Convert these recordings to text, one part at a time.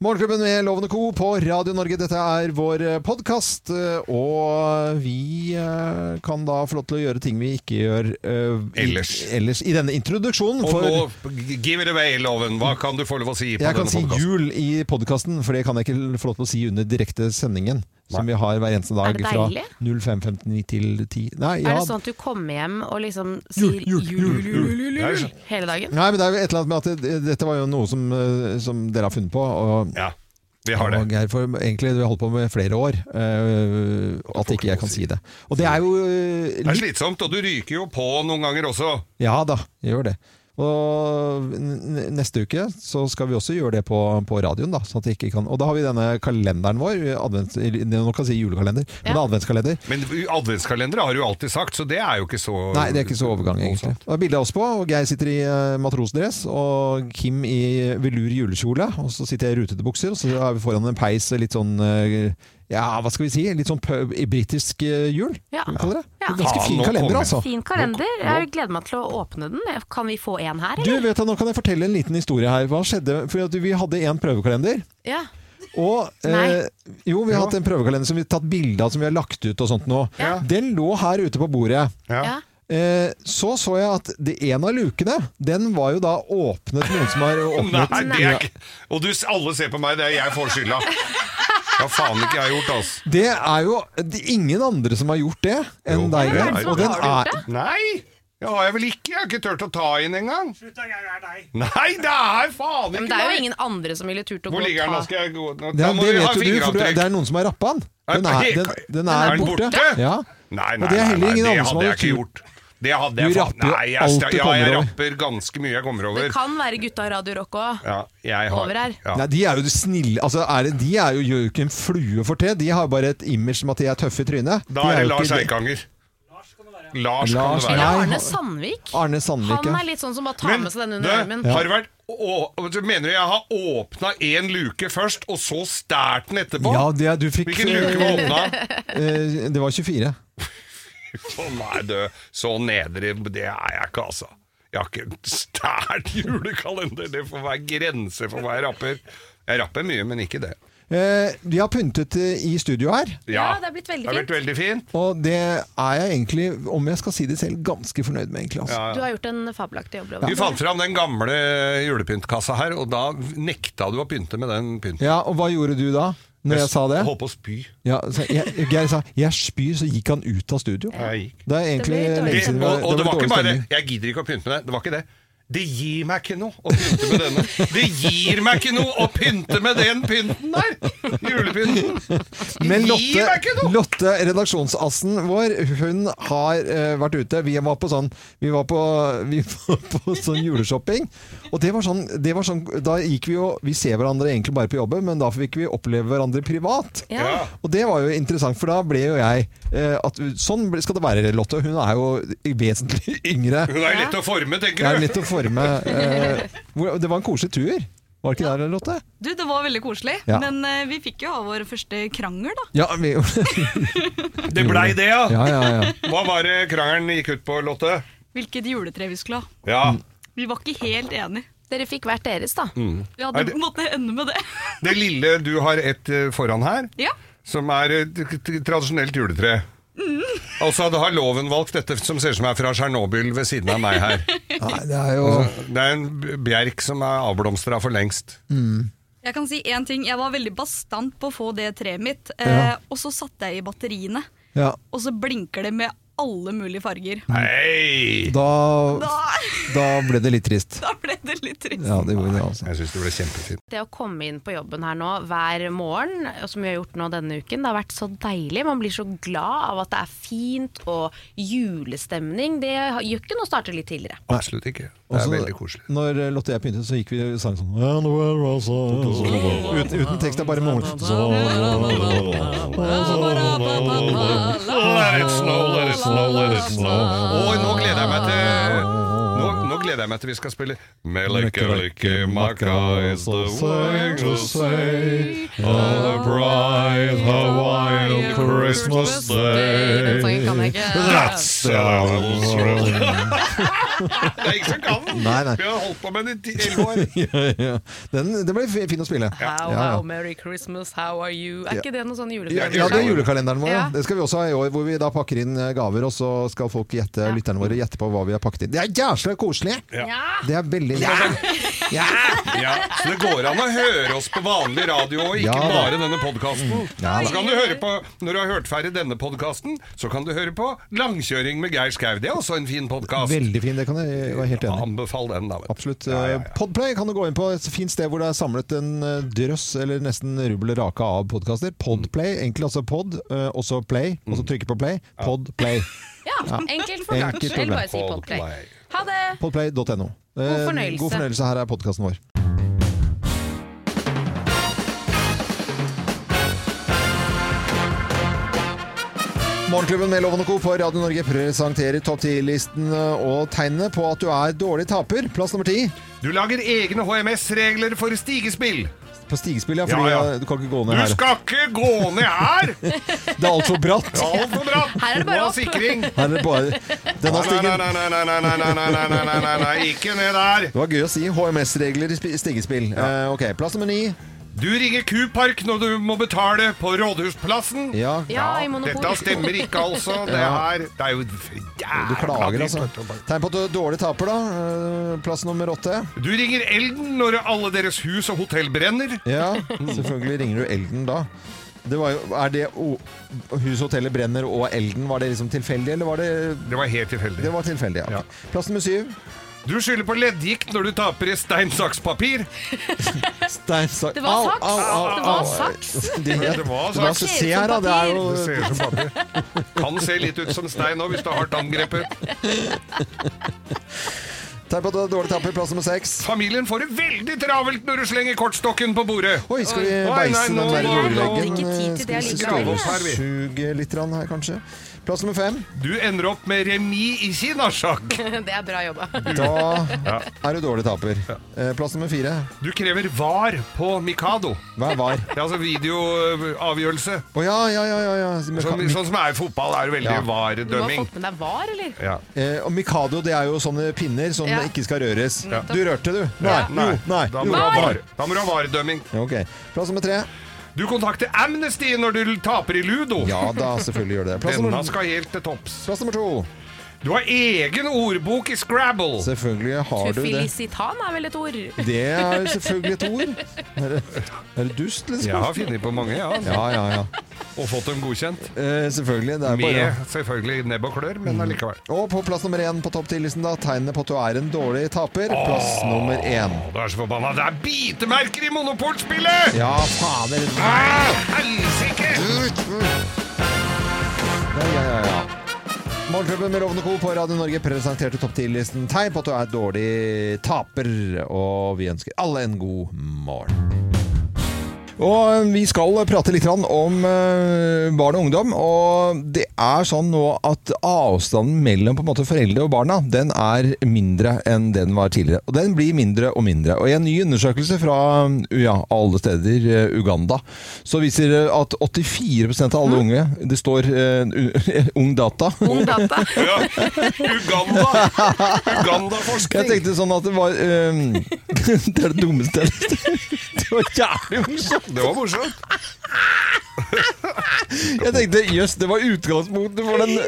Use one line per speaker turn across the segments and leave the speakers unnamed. Morgenklubben med Lovende Co. på Radio Norge. Dette er vår podkast. Og vi eh, kan da få lov til å gjøre ting vi ikke gjør eh, i-
Ellers.
ellers i denne introduksjonen.
Og
For
nå, give it away, Loven. Hva kan du få lov å si
jeg
på denne
kan si
podcasten?
jul i podkasten, for det kan jeg ikke få lov til å si under direkte sendingen. Som vi har hver eneste
Er
dag
det
fra
deilig?
05.59 til 10. Nei,
Er
ja.
det sånn at du kommer hjem og liksom sier jul, jul, jul, jul, jul hele dagen?
Nei, men det er jo et eller annet med at det, dette var jo noe som, eh, som dere har funnet på. Og,
Ja, vi har det.
Og Geir, for egentlig vi har holdt på med flere år eh, at ikke jeg kan si det. Og det er jo eh,
Det er
litt
slitsomt, og du ryker jo på noen ganger også.
Ja da, jeg gjør det. Og n- n- neste uke så skal vi også gjøre det på, på radioen, da. Sånn at det ikke kan Og da har vi denne kalenderen vår. Advents, eller, nå kan jeg si julekalender, men det er
Ja.
adventskalender.
Men adventskalendere har du jo alltid sagt, så det er jo ikke så
Nei, det er ikke så overgang, egentlig. Det er bilde av oss på, og Geir sitter i eh, matrosdress, og Kim i velur julekjole, og så sitter jeg i rutete bukser, og så er vi foran en peis, litt sånn eh, ja, hva skal vi si? Litt sånn pub, i britisk eh, jul,
Ja.
kan vi kalle det.
Ja.
Ganske
Faen,
fin
nå
kalender,
kommer-
altså.
Fin kalender. Jeg gleder meg til å åpne den. Kan vi få en her,
Du,
eller?
vet du, nå kan jeg fortelle en liten historie her. Hva skjedde? For at vi hadde en prøvekalender,
Ja.
og eh,
Nei.
Jo, vi har hatt en prøvekalender som vi har tatt bilde av, som vi har lagt ut og sånt nå.
Ja.
Den lå her ute på bordet.
ja.
Eh, så så jeg at det, en av lukene, den var jo da åpnet Noen som har åpnet
Nei, det er ikke Og du, alle ser på meg, det er jeg får skylda. Hva faen ikke jeg har gjort, altså.
Det er jo det er ingen andre som har gjort det enn deg.
Jo, det
Geir.
er det.
Og den
Har du
er,
gjort
Nei! Det har jeg vel ikke. Jeg har ikke turt å ta inn engang. Slutt, jeg er deg. Nei, det er faen
Men
ikke
det er jo
meg.
ingen andre som ville turt å gå
Hvor
og
ligger den? Da
ta
skal jeg gå Nå-
det,
Da
det
må vi
vet jo
ha
du, for du, det
fingeravtrykk.
er noen som har rappa den. Den er, den, den
Er
er
den
borte.
borte?
Ja.
Nei,
Og det er heller ingen
det
andre som hadde
hadde jeg ikke
tur.
gjort. Det hadde
Du
jeg faen
rapper jo
Nei, jeg,
alt du
sta- ja, jeg
kommer over.
rapper ganske mye jeg kommer
Det
over.
kan være gutta Radio Rock òg.
Ja, jeg har,
Over her.
Ja.
Nei, de er jo snille altså, er det, De er jo, gjør jo ikke en flue for te. De har bare et image som at de er tøffe i trynet.
Da
De
er det
jo
Lars
ikke-
Eikanger. Lars kan
Lars,
det være.
Eller
Nei,
Arne
han-
Sandvik.
Arne Sandvik,
Han
ja.
er litt sånn som bare tar
Men
med seg den
du,
under armen.
har det vært å, du Mener du jeg har åpna én luke først, og så stært den etterpå?
Ja, det, du fikk
Hvilken luke var åpna?
eh, Det var 24.
Å nei, du. Så nedrig Det er jeg ikke, altså. Jeg har ikke en stært julekalender. Det får være grenser for hva jeg rapper. Jeg rapper mye, men ikke det.
Eh, de har pyntet eh, i studio her.
Ja, det er blitt veldig
Det har blitt veldig fint.
Og det er jeg egentlig, om jeg skal si det selv, ganske fornøyd med, egentlig. Altså.
Du har gjort en fabelaktig jobb.
Vi
Loven.
fant fram den gamle julepyntkassa her, og da nekta du å pynte med den pynten.
Ja. og hva gjorde du da, når jeg, sa det?
Holdt på å spy.
Ja, så jeg, Geir sa 'jeg spyr', så gikk han ut av studio.
Jeg gikk.
Det er egentlig
Det blir dårlig
lenge
Det,
siden.
og, og det var
dårlig
ikke bare
stemning.
Jeg gidder ikke å pynte med det. Det var ikke det. Det gir meg ikke noe å pynte med denne. Det gir meg ikke noe å pynte med den pynten der! Julepynten. Det
Men
gir meg ikke
Lotte,
noe!
Lotte redaksjonsassen vår, hun har eh, vært ute. Vi var på sånn Vi var på, vi var på sånn juleshopping. Og det var sånn, det var sånn Da gikk vi jo Vi ser hverandre egentlig bare på jobben, men da fikk vi oppleve hverandre privat.
Ja.
Ja.
Og det var jo interessant, for da ble jo jeg eh, at, Sånn skal det være, Lotte. Hun er jo vesentlig yngre.
Hun er lett å forme,
Det
tenker
er
du.
lett å forme eh, hvor- Det var en koselig tur. Var det ikke det, Lotte?
Du, det var veldig koselig,
Ja.
men eh, vi fikk jo ha vår første krangel, da.
Ja, vi,
Det blei det, ja.
ja, ja, ja.
Hva var det krangelen gikk ut på, Lotte?
Hvilket juletre vi skulle ha.
Ja.
Vi var ikke helt enige.
Dere fikk hvert deres, da.
Vi
Er
hadde
det-
på en måte ende med det.
Det lille du har et eh, foran her,
Ja.
som er eh, t- t- tradisjonelt juletre. Altså, da har loven valgt dette som ser ut som er fra Tsjernobyl ved siden av meg her.
Nei, det er jo
Det er en b- bjerk som er avblomstra for lengst.
Jeg kan si én ting. Jeg var veldig bastant på å få det treet mitt, eh,
Ja.
og så satte jeg i batteriene,
ja,
og så blinker det med alle mulige farger.
Hei!
da,
Da,
da ble det litt trist.
da ble det litt trist.
Ja, det gjorde det, altså.
Jeg syns det ble kjempefint.
Det å komme inn på jobben her nå hver morgen, og som vi har gjort nå denne uken, det har vært så deilig. Man blir så glad av at det er fint og julestemning. Det gjør ikke noe å starte litt tidligere.
Absolutt ikke. Det er
Også
veldig koselig.
Når Lotte og jeg begynte, så gikk vi og sang sånn And where was I?
altså-
uten, uten tekst, det er bare morgen.
Let it snow, let it snow, let it snow. Oi, nå gleder jeg meg til nå, nå gleder jeg meg til vi skal spille Melikelikemakka is the way to say On a bright Hawaiian Christmas day
Den sangen kan jeg ikke.
That sounds really Det er ikke så gammel.
Nei, nei.
Vi har holdt på med den i ti- elleve år.
ja, ja. Den, det ble fi- fin å spille.
How,
Ja, ja.
how, Merry Christmas, how are you? Er ikke det noe sånn
Ja,
julekalender?
ja, det er julekalenderen vår. Ja.
Ja.
Det skal vi også ha i år, hvor vi da pakker inn eh, gaver, og så skal folk gjette,
Ja.
lytterne våre gjette på hva vi har pakket inn. Det er jævla koselig!
Ja.
Det er veldig ja. Ja.
Ja, så det går an å høre oss på vanlig radio, og ikke
Ja, da.
bare denne podkasten.
Ja, da.
så kan du høre på, når du har hørt ferdig denne podkasten, så kan du høre på Langkjøring med Geir Skau. Det er også en fin podkast.
Veldig fin, det kan jeg være helt enig i.
Anbefal den, da. vet du.
Absolutt. Eh,
Ja, ja, ja.
Podplay kan du gå inn på. Et fint sted hvor det er samlet en eh, drøss, eller nesten rubbel raka av podkaster. Podplay, egentlig altså pod, eh, og så play, og
Mm.
så trykke på play. Podplay.
Ja, enkelt forklart.
Enkelt
Eller bare si
forklart.
Podplay.
Podplay.
Ha det!
Podplay.no. Eh,
fornøyelse.
God fornøyelse. Her er podkasten vår. Morgenklubben med Loven og Co. på Radio Norge presenterer topp 10-listen og tegnene på at du er dårlig taper. Plass nummer ti
Du lager egne HMS-regler for stigespill.
på stigespill, ja.
Ja,
Fordi
ja.
eh, du kan ikke gå ned
Du
her.
skal ikke gå ned her!
Det er altfor bratt.
Altfor bratt!
Her er det bare
Må ha
opp.
sikring.
Her er det bare Denne
Nei, nei,
stigen
nei, nei, nei, nei, nei, nei, nei, nei, nei, nei, nei, ikke ned der!
Det var gøy å si. HMS-regler i spi- stigespill. Eh, ok, Plass nummer ni.
Du ringer Q-Park når du må betale på Rådhusplassen.
Ja.
Ja, i Monopol.
Dette stemmer ikke, altså. Det
Ja.
er, det er jo jævla
Du klager, altså.
dritt.
Tegn på at du er dårlig taper, da. Eh, Plass nummer åtte.
Du ringer Elden når alle deres hus og hotell brenner.
Ja, selvfølgelig ringer du Elden da. Det var jo, er det o- Hus og hotellet brenner og Elden, var det liksom tilfeldig, eller var det
Det var helt tilfeldig.
Det var tilfeldig, ja.
Ja.
Plass nummer syv.
Du skylder på leddgikt når du taper i stein, saks, papir.
Stein, saks
Det var saks. Det var saks.
Det,
Det var
det var
saks.
så se her, da. Det er jo
Det ser ut som papir. Kan se litt ut som stein òg, hvis du har hardt angrepet.
Tegn på at du er dårlig taper. Plass nummer seks.
Familien får det veldig travelt når du slenger kortstokken på bordet.
Oi, skal vi
Oi. Oi,
beise
nei,
den
nå-
der
nå- nå-
nordveggen?
Ikke tid til det
Skal vi
likevel.
skru-
Her er vi.
Suge litt grann her, kanskje. Plass nummer fem.
Du ender opp med remis i kinasjakk.
Det er bra jobba.
Da er du dårlig taper. Eh, Plass nummer fire.
Du krever var på Mikado.
Hva er var?
Det er altså videoavgjørelse.
Å ja, ja, ja. ja, ja.
Sånn, sånn som er i fotball, er det veldig
Ja.
Du må ha
var-dømming.
fått med deg var, eller?
Ja.
Eh, og Mikado det er jo sånne pinner som
Ja.
ikke skal røres.
Ja.
Du rørte, du? Nei.
Nei,
Jo, nei.
Da
jo.
må du ha var. Da må du ha varedømming.
Ja, Ok. Plass nummer tre.
Du kontakter Amnesty når du taper i ludo.
Ja da, selvfølgelig gjør det. Plass
Denne
nummer,
skal helt til topps.
plass nummer to.
Du har egen ordbok i Scrabble.
Selvfølgelig har du det.
Felicitan er vel et ord?
Det er selvfølgelig et ord. Er det, er det dust, liksom?
Jeg har funnet på mange, ja. altså.
Ja, ja, ja.
Og fått dem godkjent.
Eh, selvfølgelig. Det er bare
Med selvfølgelig nebb og klør, men allikevel.
Og på plass nummer én på topp 10-listen, da. Tegnet på at du er en dårlig taper. Plass nummer én.
Å, Du er så forbanna. Det er bitemerker i Monopol-spillet!
Ja, fader.
Ah, Helsike!
Ja, ja, ja, ja. Morgenklubben med Lovende Co. på Radio Norge presenterte topp 10-listen tegn på at du er dårlig taper. Og vi ønsker alle en god morgen. Og eh, vi skal prate litt grann om eh, barn og ungdom. Og det er sånn nå at avstanden mellom på en måte foreldre og barna den er mindre enn det den var tidligere. Og den blir mindre og mindre. Og i en ny undersøkelse fra eh, ja, alle steder, eh, Uganda, så viser det at 84 av alle unge Det står eh, u- Ung Data.
Ung data.
Ja. Uganda!
Jeg
Uganda-forskning!
tenkte sånn at det var ehm, Det er det dummeste jeg har lyst til. Det var jævlig morsomt.
Det var morsomt.
Jeg tenkte jøss, det var utgangspunktet for den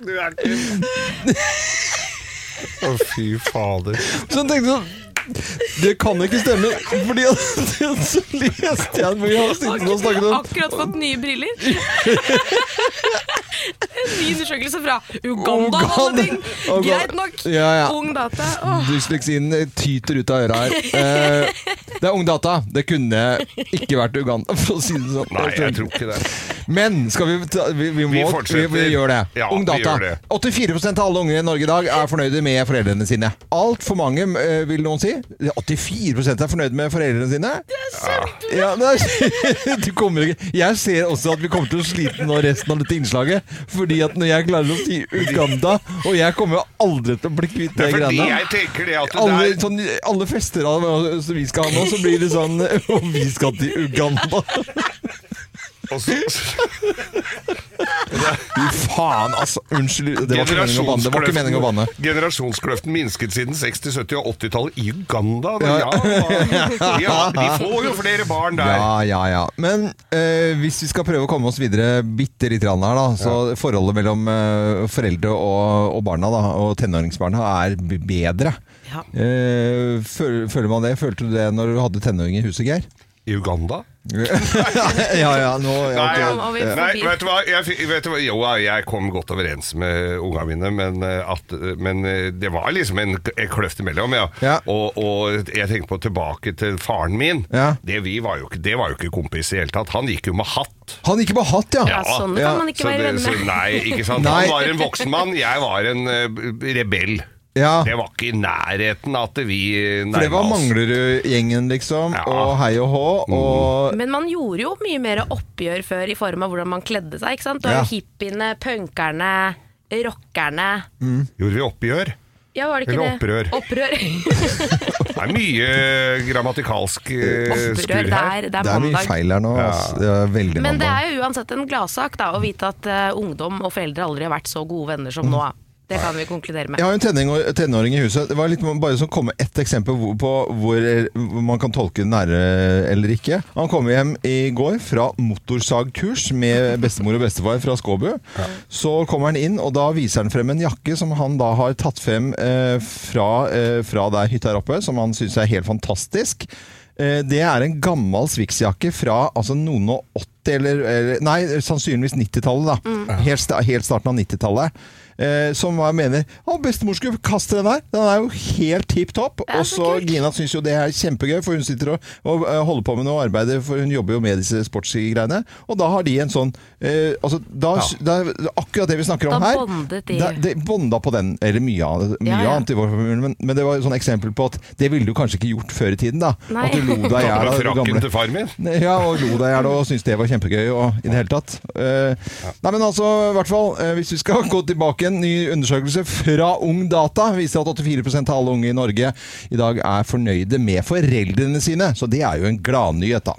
Du er ikke Å, fy fader.
Så jeg tenkte sånn det kan ikke stemme, Fordi at så leste jeg den hvor jeg har sittet og snakket om
Akkurat fått nye briller. En ny undersøkelse fra Uganda. og alle ting.
Uganda.
Greit nok.
Ja, ja.
Ung data. Åh.
Dysleksien eh, tyter ut av øra her. Eh, det er ungdata. Det kunne ikke vært Uganda, for å si det sånn.
Nei, jeg tror ikke det.
Men skal vi, ta, vi, vi, må, vi,
fortsetter.
vi gjør det.
Ja, vi
Ungdata.
gjør det.
84 av alle unge i Norge i dag er fornøyde med foreldrene sine. Altfor mange, eh, vil noen si. 84 er fornøyd med foreldrene sine. Ja, men det er- du kommer ikke Jeg ser også at vi kommer til å slite nå resten av dette innslaget. Fordi at når jeg klarer å si Uganda, og jeg kommer jo aldri til å bli kvitt de
Det er fordi
greiene
jeg tenker det at det
alle,
er
sånn, alle fester av, som vi skal ha nå, så blir det sånn Og vi skal til Uganda.
Og så-
Fy faen, altså. Unnskyld. Det var ikke meningen å banne. Det var ikke meningen å banne.
Generasjonskløften minsket siden 60-, 70- og 80-tallet i Uganda. det- Ja. ja, de får jo flere barn der.
Ja, ja, ja. Men eh, hvis vi skal prøve å komme oss videre bitte litt grann her, da, så forholdet mellom eh, foreldre og, og barna, da, og tenåringsbarna, er b- bedre.
Ja.
Eh, føl, føler man det? Følte du det når du hadde tenåring i huset, Geir?
I Uganda?
ja, ja, nå ja,
Nei,
ok.
Om- om vi får
nei
bil.
vet, du hva? Jeg, fi- vet du hva? Jo, ja, jeg kom godt overens med unga mine, men, eh, at, men eh, det var liksom en, k- en kløft imellom. Ja.
Ja.
Og, og jeg tenker på tilbake til faren min.
Ja.
Det, vi var jo, ikke- det var jo ikke kompis i hele tatt. Han gikk jo med hatt.
Han gikk på hatt, ja!
Ja, sånne
Ja.
kan man ikke
Så
være
det-
venner
så
med.
Nei, ikke sant.
Nei.
Han var en voksen mann, jeg var en eh, b- rebell.
Ja.
Det var ikke i nærheten at vi eh,
For det
nærma
var
oss.
Manglerud-gjengen, liksom,
Ja.
og hei og hå. Og
Men man gjorde jo mye mer oppgjør før i form av hvordan man kledde seg. ikke sant? Du har
Ja.
jo hippiene, punkerne, rockerne.
Gjorde vi oppgjør?
Ja, var det ikke
Eller opprør.
det? Opprør.
Det er mye grammatikalsk eh, skur her.
opprør der, det
det
er
er mye
mandag.
feil her nå. ass. Det er veldig
Men det
mandag.
er jo uansett en gladsak da, å vite at eh, ungdom og foreldre aldri har vært så gode venner som nå. Det kan vi konkludere med.
Jeg har jo en tenåring, tenåring i huset. Det var litt bare sånn komme ett eksempel hvor- på hvor, hvor man kan tolke nære eller ikke. Han kom hjem i går fra motorsagkurs med bestemor og bestefar fra Skåbu. Så kommer han inn, og da viser han frem en jakke som han da har tatt frem eh, fra, eh, fra der hytta er oppe, som han syns er helt fantastisk. Eh, Det er en gammel Swix-jakke fra altså, noen og 80 eller, eller Nei, sannsynligvis 90-tallet,
Mm.
da. Helt, sta- helt starten av 90-tallet. Eh, som jeg mener Å, bestemor skulle kaste den der! Den er jo helt tipp topp!
er
Og
så
så
kult.
Gina syns jo det er kjempegøy, for hun sitter og, og eh, holder på med noe arbeid, for hun jobber jo med disse sportsgreiene. Og da har de en sånn eh, altså, da, da, Akkurat det vi snakker om
Da
her.
bondet de.
da- det bonda på den, eller mye, av- mye
Ja, ja.
annet i vår familie, men, men det var et sånn eksempel på at det ville du kanskje ikke gjort før i tiden, da.
Nei.
At du lo deg i
Ja,
hjel av det
frakken til
gamle.
far min.
Ja, og lo deg i hjel og syntes det var kjempegøy og, i det hele tatt. Eh, nei, men altså, i hvert fall, eh, hvis vi skal gå tilbake en ny undersøkelse fra Ung Data, viser at 84 av alle unge i Norge i dag er fornøyde med foreldrene sine. Så det er jo en gladnyhet, da.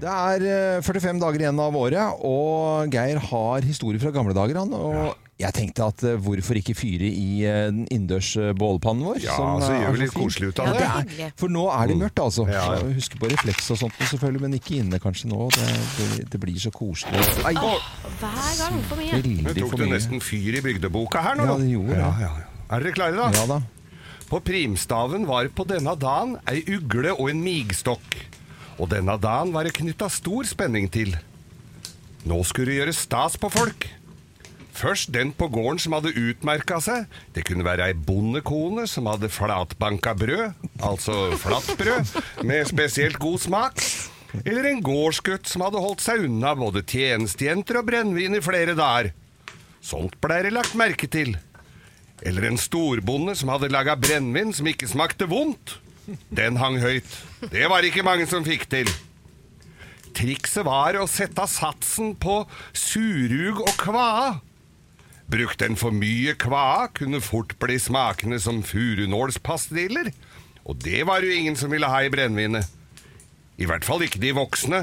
Det er eh, 45 dager igjen av året, og Geir har historier fra gamle dager. Han, og jeg tenkte at eh, hvorfor ikke fyre i eh, den innendørs eh, bålpannen vår?
Ja,
som,
så
eh,
gjør
er
vi litt
fin?
koselig ut
Ja,
av
det
det.
er hyggelig.
For nå er det mørkt, altså.
Mm. Ja, ja.
Så Husk på refleks og sånt nå, selvfølgelig, men ikke inne kanskje nå. Det, det, det blir så koselig. Nei,
Hver gang for
Nå
mye.
veldig
tok
for
du
mye.
nesten fyr i bygdeboka her nå.
Ja, det gjorde det.
Ja, ja, ja. Er dere klare, da?
Ja da.
På primstaven var på denne dagen ei ugle og en migstokk. Og denne dagen var det knytta stor spenning til. Nå skulle det gjøres stas på folk. Først den på gården som hadde utmerka seg. Det kunne være ei bondekone som hadde flatbanka brød, altså flatbrød, med spesielt god smak. Eller en gårdsgutt som hadde holdt seg unna både tjenestejenter og brennevin i flere dager. Sånt blei det lagt merke til. Eller en storbonde som hadde laga brennevin som ikke smakte vondt. Den hang høyt. Det var ikke mange som fikk til. Trikset var å sette satsen på surug og kvae. Brukte en for mye kvae, kunne fort bli smakende som furunålspastiller. Og det var jo ingen som ville ha i brennevinet. I hvert fall ikke de voksne.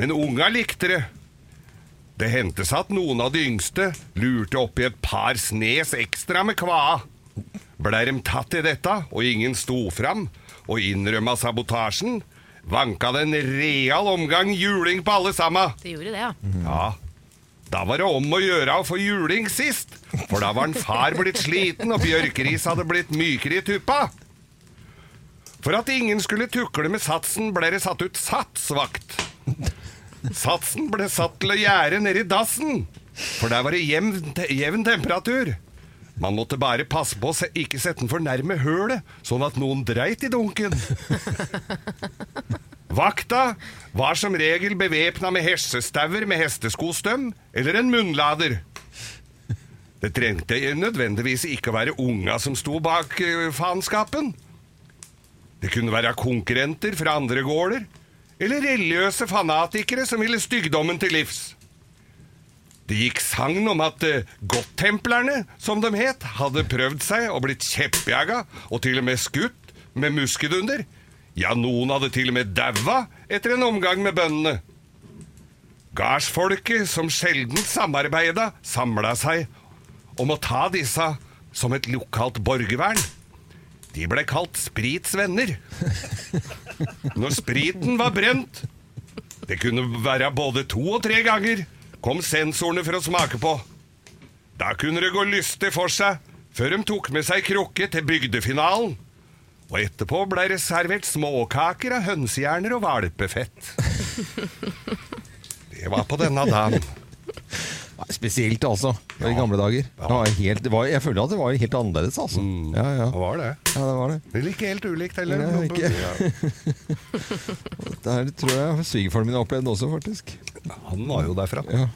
Men unga likte det. Det hendte seg at noen av de yngste lurte oppi et par snes ekstra med kvae. Blei dem tatt i dette, og ingen sto fram og innrømma sabotasjen, vanka det en real omgang juling på alle sammen.
Det gjorde det, ja.
Ja, da var det om å gjøre å få juling sist, for da var en far blitt sliten, og Bjørkris hadde blitt mykere i tuppa. For at ingen skulle tukle med satsen, ble det satt ut satsvakt. Satsen ble satt til å gjære nedi dassen, for der var det jevn, te- jevn temperatur. Man måtte bare passe på å se- ikke sette den for nærme hølet, sånn at noen dreit i dunken. Vakta var som regel bevæpna med hesjestauer med hesteskostøm eller en munnlader. Det trengte nødvendigvis ikke å være unga som sto bak eh, faenskapen. Det kunne være konkurrenter fra andre gårder, eller religiøse fanatikere som ville styggdommen til livs. Det gikk sagn om at eh, godttemplerne, som de het, hadde prøvd seg og blitt kjeppjaga, og til og med skutt med muskedunder. Ja, noen hadde til og med daua etter en omgang med bøndene. Gardsfolket, som sjelden samarbeida, samla seg om å ta disse som et lokalt borgervern. De ble kalt Sprits venner. Når spriten var brent, det kunne være både to og tre ganger, kom sensorene for å smake på. Da kunne det gå lystig for seg, før de tok med seg krukke til bygdefinalen. Og etterpå ble det servert småkaker av hønsehjerner og valpefett. Det var på denne dagen.
Nei, spesielt, altså. I gamle dager. Det var helt, det var, jeg føler at det var helt annerledes, altså. Ja, ja.
Hva var det?
ja, det var det.
Det er ikke helt ulikt heller.
Nei, ikke. Det her tror jeg svigerfaren min har opplevd også, faktisk.
Han var jo derfra.
Ja.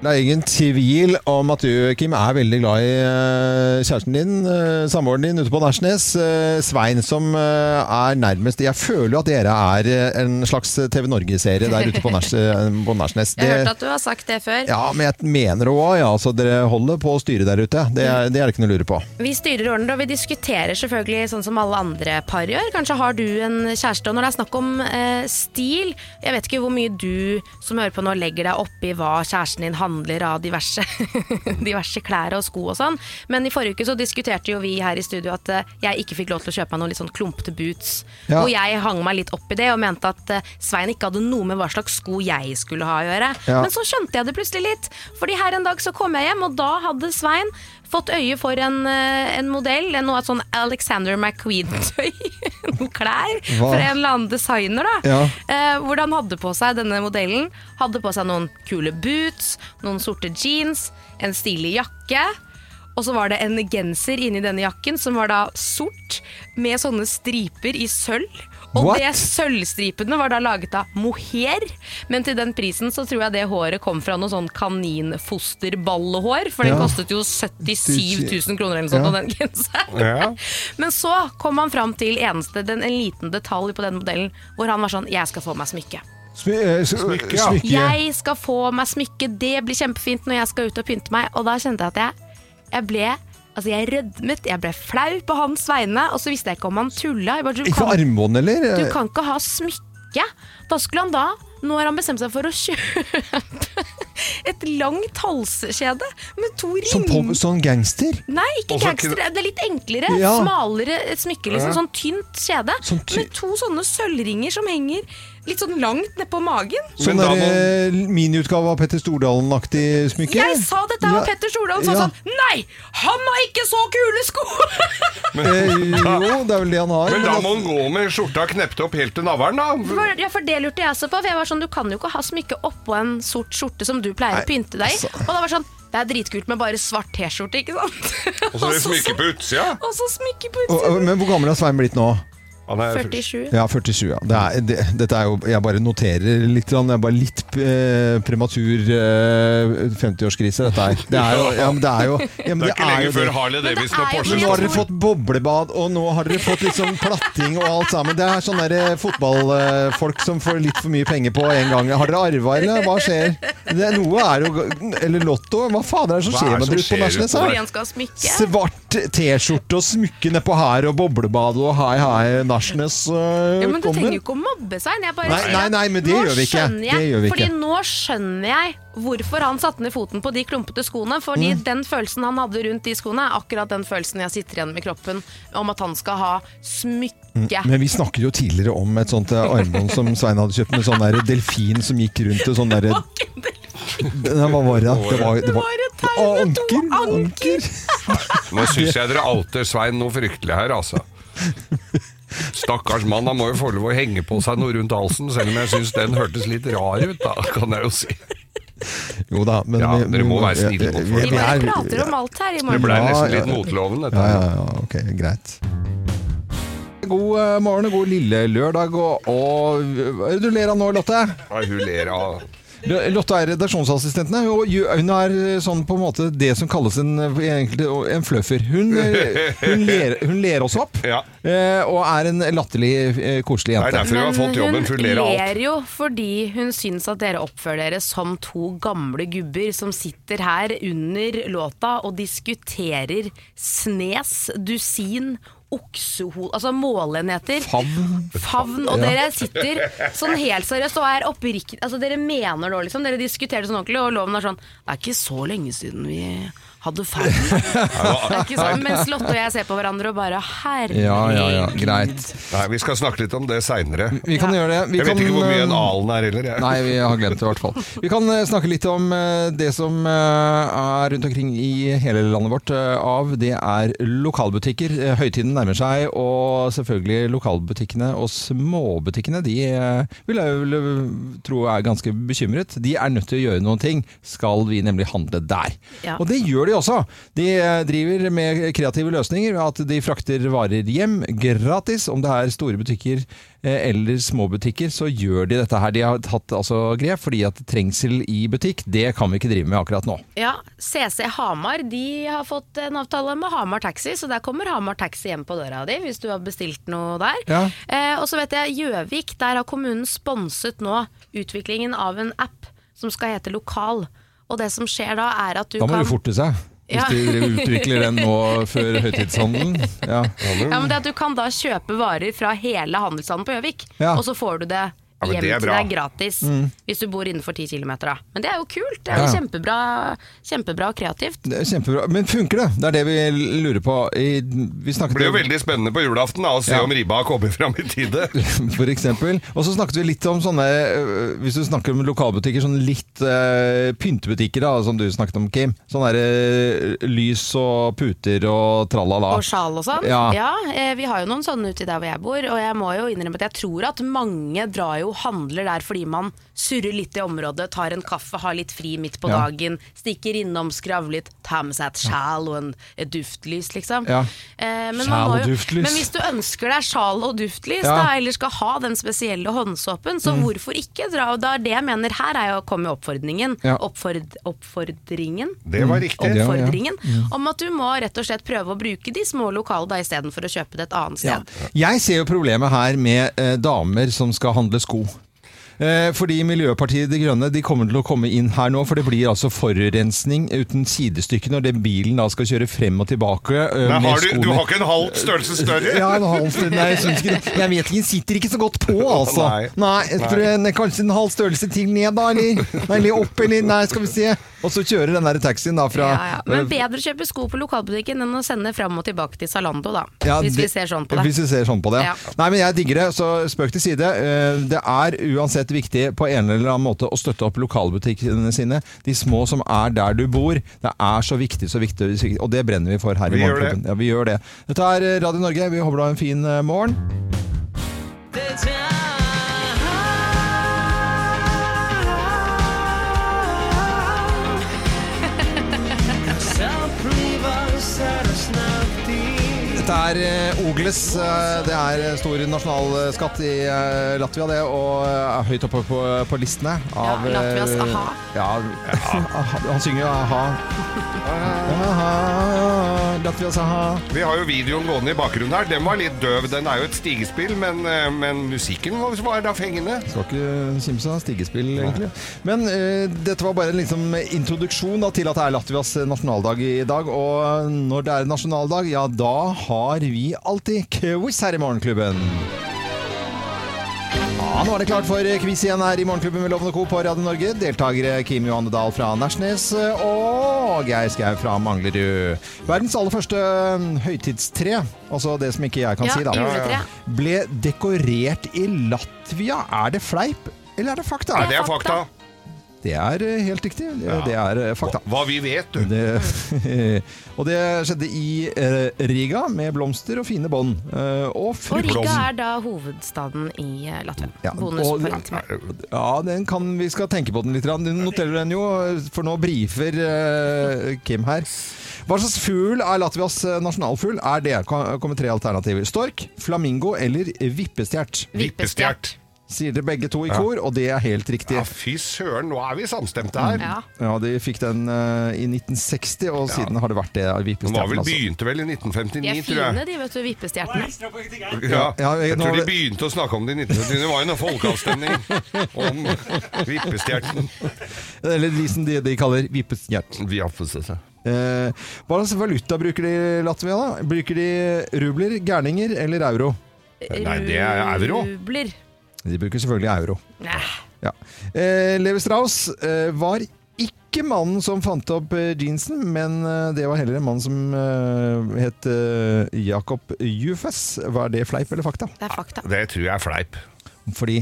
Det er ingen tvil om at du, Kim, er veldig glad i eh, kjæresten din, eh, samboeren din ute på Nærsnes. eh, Svein, som eh, er nærmest Jeg føler jo at dere er eh, en slags TV Norge-serie der ute på Nærs- eh, på Nærsnes.
Jeg
Det-
har hørt at du har sagt det før.
Ja, men jeg mener òg, ja. Altså, dere holder på å styre der ute. Det er det er det ikke noe å lure på.
Vi styrer og ordner, og vi diskuterer selvfølgelig sånn som alle andre par gjør. Kanskje har du en kjæreste, og når det er snakk om eh, stil Jeg vet ikke hvor mye du som hører på nå legger deg oppi hva kjæresten din handler av diverse, diverse klær og sko og sånn, men i forrige uke så diskuterte jo vi her i studio at eh, jeg ikke fikk lov til å kjøpe meg noen litt sånn klumpete boots.
Ja.
Og jeg hang meg litt opp i det og mente at eh, Svein ikke hadde noe med hva slags sko jeg skulle ha å gjøre.
Ja.
Men så skjønte jeg det plutselig litt. Fordi her en dag så kom jeg hjem, og da hadde Svein fått øye for en, eh, en modell, en- noe av sånn Alexander McQueen-tøy, noen klær,
Hva?
fra en eller annen designer da.
Ja.
Eh, hvor han hadde på seg denne modellen, hadde på seg noen kule boots, noen sorte jeans, en stilig jakke, og så var det en genser inni denne jakken som var da sort, med sånne striper i sølv, og
What?
det Sølvstripene var da laget av mohair, men til den prisen så tror jeg det håret kom fra noe sånn kaninfosterballehår, for den
Ja.
kostet jo 77 000 kroner eller noe sånt,
Ja.
og den genseren.
Ja.
Men så kom han fram til eneste, den, en liten detalj på den modellen, hvor han var sånn 'jeg skal få meg smykke'.
Smy, eh, s-
Smykke, ja.
smykke.
Jeg skal få meg smykke, det blir kjempefint når jeg skal ut og pynte meg. Og da kjente jeg at jeg, jeg ble Altså Jeg rødmet, jeg ble flau på hans vegne, og så visste jeg ikke om han tulla. Jeg bare, du
Ikke
kan
armbånd, eller?
du kan ikke ha smykke. Da skulle han da, nå har han bestemt seg for å kjøpe et langt halskjede med to
Som på,
ring...
sånn gangster?
Nei, ikke
Også
gangster.
kunne-
Det er litt enklere,
Ja.
smalere smykke. Liksom,
Ja.
sånn tynt kjede
Sånn ty-
med to sånne sølvringer som henger litt sånn langt nedpå magen.
Sånn
Men da
der, miniutgave av Petter Stordalen-aktig smykke?
Jeg sa dette her var
Ja,
Petter Stordalen, sa
ja.
sånn Nei, han har ikke så kule sko!
Eh, jo, det er vel det han har.
Men da må han gå med skjorta knept opp helt til navlen, da.
For, ja, for det lurte jeg også på. For jeg var sånn, Du kan jo ikke ha smykke oppå en sort skjorte som du pleier å pynte deg i.
altså.
Og da var det sånn Det er dritkult med bare svart T-skjorte, ikke sant?
Og
Altså,
så er det smykke på utsida.
Og så smykke på
Og, og,
utsiden.
men hvor gammel er Svein blitt nå?
Han er
47.
Ja, 47. ja. Det er, det, dette er jo, jeg bare noterer litt. grann. Jeg er bare litt eh, prematur eh, 50-årskrise, dette her. Det er jo, ja, men det er jo, ja, men
Det er ikke
jo
lenge
det.
før Harley
Men det
Davidson og
er jo-
Porsche.
Nå har dere
tror-
fått boblebad, og nå har dere fått litt sånn platting og alt sammen. Det er sånne der eh, fotballfolk som får litt for mye penger på en gang. Har dere arva, eller hva skjer? Det er noe er jo Eller Lotto? Hva fader er det som
Hva
skjer
er det
med
som
dere ute på
skjer
Nærsnes?
ute på
her?
Fordi han skal ha smykke.
Svart T-skjorte og smykke nedpå her, og boblebad og hei, hei, Nærsnes øh,
Ja, men Du trenger
kommer.
jo ikke å mobbe Svein. Jeg bare
Nei,
sier
nei,
at
nei, men det
nå
gjør vi ikke.
skjønner Jeg,
Det gjør vi
fordi
ikke.
nå skjønner jeg hvorfor han satte ned foten på de klumpete skoene. Fordi
Mm.
den følelsen han hadde rundt de skoene, er akkurat den følelsen jeg sitter igjen med i kroppen om at han skal ha smykke.
Mm, Men vi snakket jo tidligere om et sånt eh, armbånd som Svein hadde kjøpt med sånn der delfin som gikk rundt og sånn derre Hva var det? da? Det var, det
Det
var
var et tegn med to
Anker,
anker!
anker.
Nå syns jeg dere outer Svein noe fryktelig her, altså. Stakkars mann, han må jo få lov å henge på seg noe rundt halsen, selv om jeg syns den hørtes litt rar ut, da, kan jeg jo si.
Jo da, men
Ja,
vi-
dere må være snille mot
vi-
folk.
vi-
Vi
vi
bare
er-
prater om alt her i
Det blei
morgen.
Ja,
nesten
ja.
litt motloven, dette.
Ja, ja, ja, ok, greit. God eh, morgen og god lille lørdag. Og, og Hva er det du ler av nå, Lotte?
Ja, Hun ler av
L- Lotte er redaksjonsassistenten, her, og gjø- hun er eh, sånn på en måte det som kalles en, eh, egentlig, en fluffer. Hun, eh, hun, ler, hun ler oss opp,
Ja.
eh, og er en latterlig, eh, koselig
Det er
jente.
derfor hun har fått jobben, for hun ler av alt.
ler jo fordi hun syns at dere oppfører dere som to gamle gubber som sitter her under låta og diskuterer snes, dusin oksehol... Altså måleenheter.
Favn.
Favn. Og
Ja.
dere sitter sånn helt seriøst og er oppriktig Altså dere mener nå, liksom. Dere diskuterer det sånn ordentlig, og loven er sånn Det er ikke så lenge siden vi hadde favn. Det er ikke sånn, Mens Lotte og jeg ser på hverandre og bare Herregud.
Ja, ja, ja. Greit.
Nei, vi skal snakke litt om det seinere.
Vi kan gjøre det. Vi
Jeg vet
kan,
ikke hvor mye en
eh,
alen er heller. Jeg.
Nei, vi har glemt det i hvert fall. Vi kan eh, snakke litt om eh, det som eh, er rundt omkring i hele landet vårt eh, av. Det er lokalbutikker. Eh, Høytiden nærmer seg, og selvfølgelig lokalbutikkene og småbutikkene. De eh, vil jeg vel eh, tro er ganske bekymret. De er nødt til å gjøre noen ting, skal vi nemlig handle der.
Ja.
Og det gjør de også. De eh, driver med kreative løsninger ved at de frakter varer hjem gratis. Om det er store butikker eh, eller små butikker, så gjør de dette her. De har tatt altså, grep fordi at trengsel i butikk, det kan vi ikke drive med akkurat nå.
Ja, CC Hamar de har fått en avtale med Hamar Taxi, så der kommer Hamar Taxi hjem på døra di hvis du har bestilt noe der.
Ja.
Eh, og så vet jeg Gjøvik, der har kommunen sponset nå utviklingen av en app som skal hete Lokal. Og det som skjer da, er at du
Da må
kan
du forte seg. Hvis
Ja.
de utvikler den nå før høytidshandelen. Ja.
Ja, men det at du kan da kjøpe varer fra hele handelsstanden på Gjøvik,
Ja. Mm.
og så får du det
men
hjem
det er
til
bra.
deg gratis hvis du bor innenfor 10 km. Da. Men det er jo kult. Det er
Ja,
jo
ja.
kjempebra, kjempebra og kreativt.
Det er kjempebra. Men funker det? Det er det vi lurer på. I, vi snakket
Det blir jo veldig spennende på julaften da, å se
Ja.
om ribba har kommet fram i tide.
for eksempel. Og så snakket vi litt om sånne, øh, hvis du snakker om lokalbutikker, sånn litt øh, pyntebutikker da, som du snakket om, Kim. Sånn der øh, lys og puter og tralala.
Og sjal og sånn.
Ja.
eh, vi har jo noen sånne ute der hvor jeg bor, og jeg må jo innrømme at jeg tror at mange drar jo og handler der fordi man surrer litt i området, tar en kaffe, har litt fri midt på
Ja.
dagen, stikker innom, skravler litt, tar med seg et sjal og en, et duftlys, liksom.
Ja.
Eh, men
Sjal
man må
og
jo,
duftlys.
Men hvis du ønsker deg sjal og duftlys,
Ja. Mm.
da, eller skal ha den spesielle håndsåpen, så hvorfor ikke dra? Og da er det jeg mener her, er jo å komme med oppfordringen.
Ja.
Oppford, oppfordringen
Det var riktig.
Mm. ja.
oppfordringen om at du må rett og slett prøve å bruke de små lokale da istedenfor å kjøpe det et annet
Ja.
sted.
Jeg ser jo problemet her med eh, damer som skal handle sko. Eh, fordi Miljøpartiet De Grønne de kommer til å komme inn her nå, for det blir altså forurensning uten sidestykke når den bilen da skal kjøre frem og tilbake eh,
Nei,
med
har du,
skoene.
du har ikke en halv størrelse større?
Ja, en halv størrelse. Nei, jeg syns ikke det. Jeg vet ikke, den sitter ikke så godt på, altså.
Nei.
Nei, jeg tror jeg, nei, kanskje en halv størrelse til ned, da, eller? Nei, eller opp, eller? Nei, skal vi se. Og så kjører den der taxien da fra
Ja, ja. Men bedre å kjøpe sko på lokalbutikken enn å sende fram og tilbake til Zalando, da.
Ja,
hvis vi
det-
ser sånn på det.
Hvis vi ser sånn på det.
Ja.
Nei, men jeg digger det, så spøk til side. Eh, Det er uansett viktig på en eller annen måte å støtte opp lokalbutikkene sine. De små som er der du bor. Det er så viktig, så viktig, så viktig. og det brenner vi for her
Vi
i
gjør
Morgenklubben. Ja, vi gjør det. Dette er eh, Radio Norge, vi håper du har en fin eh, morgen. Dette er eh, Ogles. eh, Det er eh, stor nasjonalskatt i eh, Latvia, det. Og eh, er høyt oppe på, på listene av
Ja, Latvias
eh,
a-ha.
Ja, a-ha. han synger jo a-ha. a-ha. Latvias a-ha.
Vi har jo videoen gående i bakgrunnen her. Den var litt døv. Den er jo et stigespill, men, eh, men musikken var da fengende.
Skal ikke kimse av stigespill, egentlig. Men eh, dette var bare en liksom, introduksjon da, til at det er Latvias eh, nasjonaldag i dag. Og når det er nasjonaldag, ja da har vi alltid quiz her i Morgenklubben. Ja, Nå er det klart for eh, quiz igjen her i Morgenklubben med Lovende Co. på Radio Norge. Deltakere Kim Johanne Dahl fra Nærsnes og Geir Skau fra Manglerud. Verdens aller første eh, høytidstre, altså det som ikke jeg kan
Ja,
si, da
juletre.
ble dekorert i Latvia. Er det fleip, eller er det fakta?
Nei, det er fakta.
Det er eh, helt riktig. Det, det er eh, fakta.
Hva vi vet, du.
Det, og det skjedde i eh, Riga, med blomster og fine bånd. eh, og
Og
frukt.
Riga er da hovedstaden i eh, Latvia.
Ja,
Bonus
og-
for Latvia.
Ja, den kan, vi skal tenke på den litt. grann. Du noterer den jo, for nå brifer eh, Kim her. Hva slags fugl er Latvias eh, nasjonalfugl? Er det? Kan- Kommer tre alternativer. Stork, flamingo eller vippestjert?
Vippestjert.
Sier det begge to i kor, og det er helt riktig.
Ja, fy søren, nå er vi samstemte her.
Ja.
Ja, de fikk den eh, i 1960, og siden har det vært det.
Den var vel
vippestjerten, altså.
begynte vel i
De er
1959, tror
fine
jeg.
de, vet du, vippestjernene.
Ja,
Ja, jeg-
jeg tror de
nå-
begynte å snakke om det i 1959. Det var jo noen folkeavstemning om vippestjerten.
Eller de som de, de kaller vippestjert.
Vi har fått se seg.
Eh, hva slags valuta bruker de i Latvia, da? Bruker de rubler, gærninger eller euro?
Nei, det er euro.
Rubler.
De bruker selvfølgelig euro.
Nei.
Ja. Eh, Levi Strauss eh, var ikke mannen som fant opp eh, jeansen, men eh, det var heller en mann som eh, het eh, Jakob Jufes. Var det fleip eller fakta?
Det er fakta.
Det tror jeg er fleip.
Fordi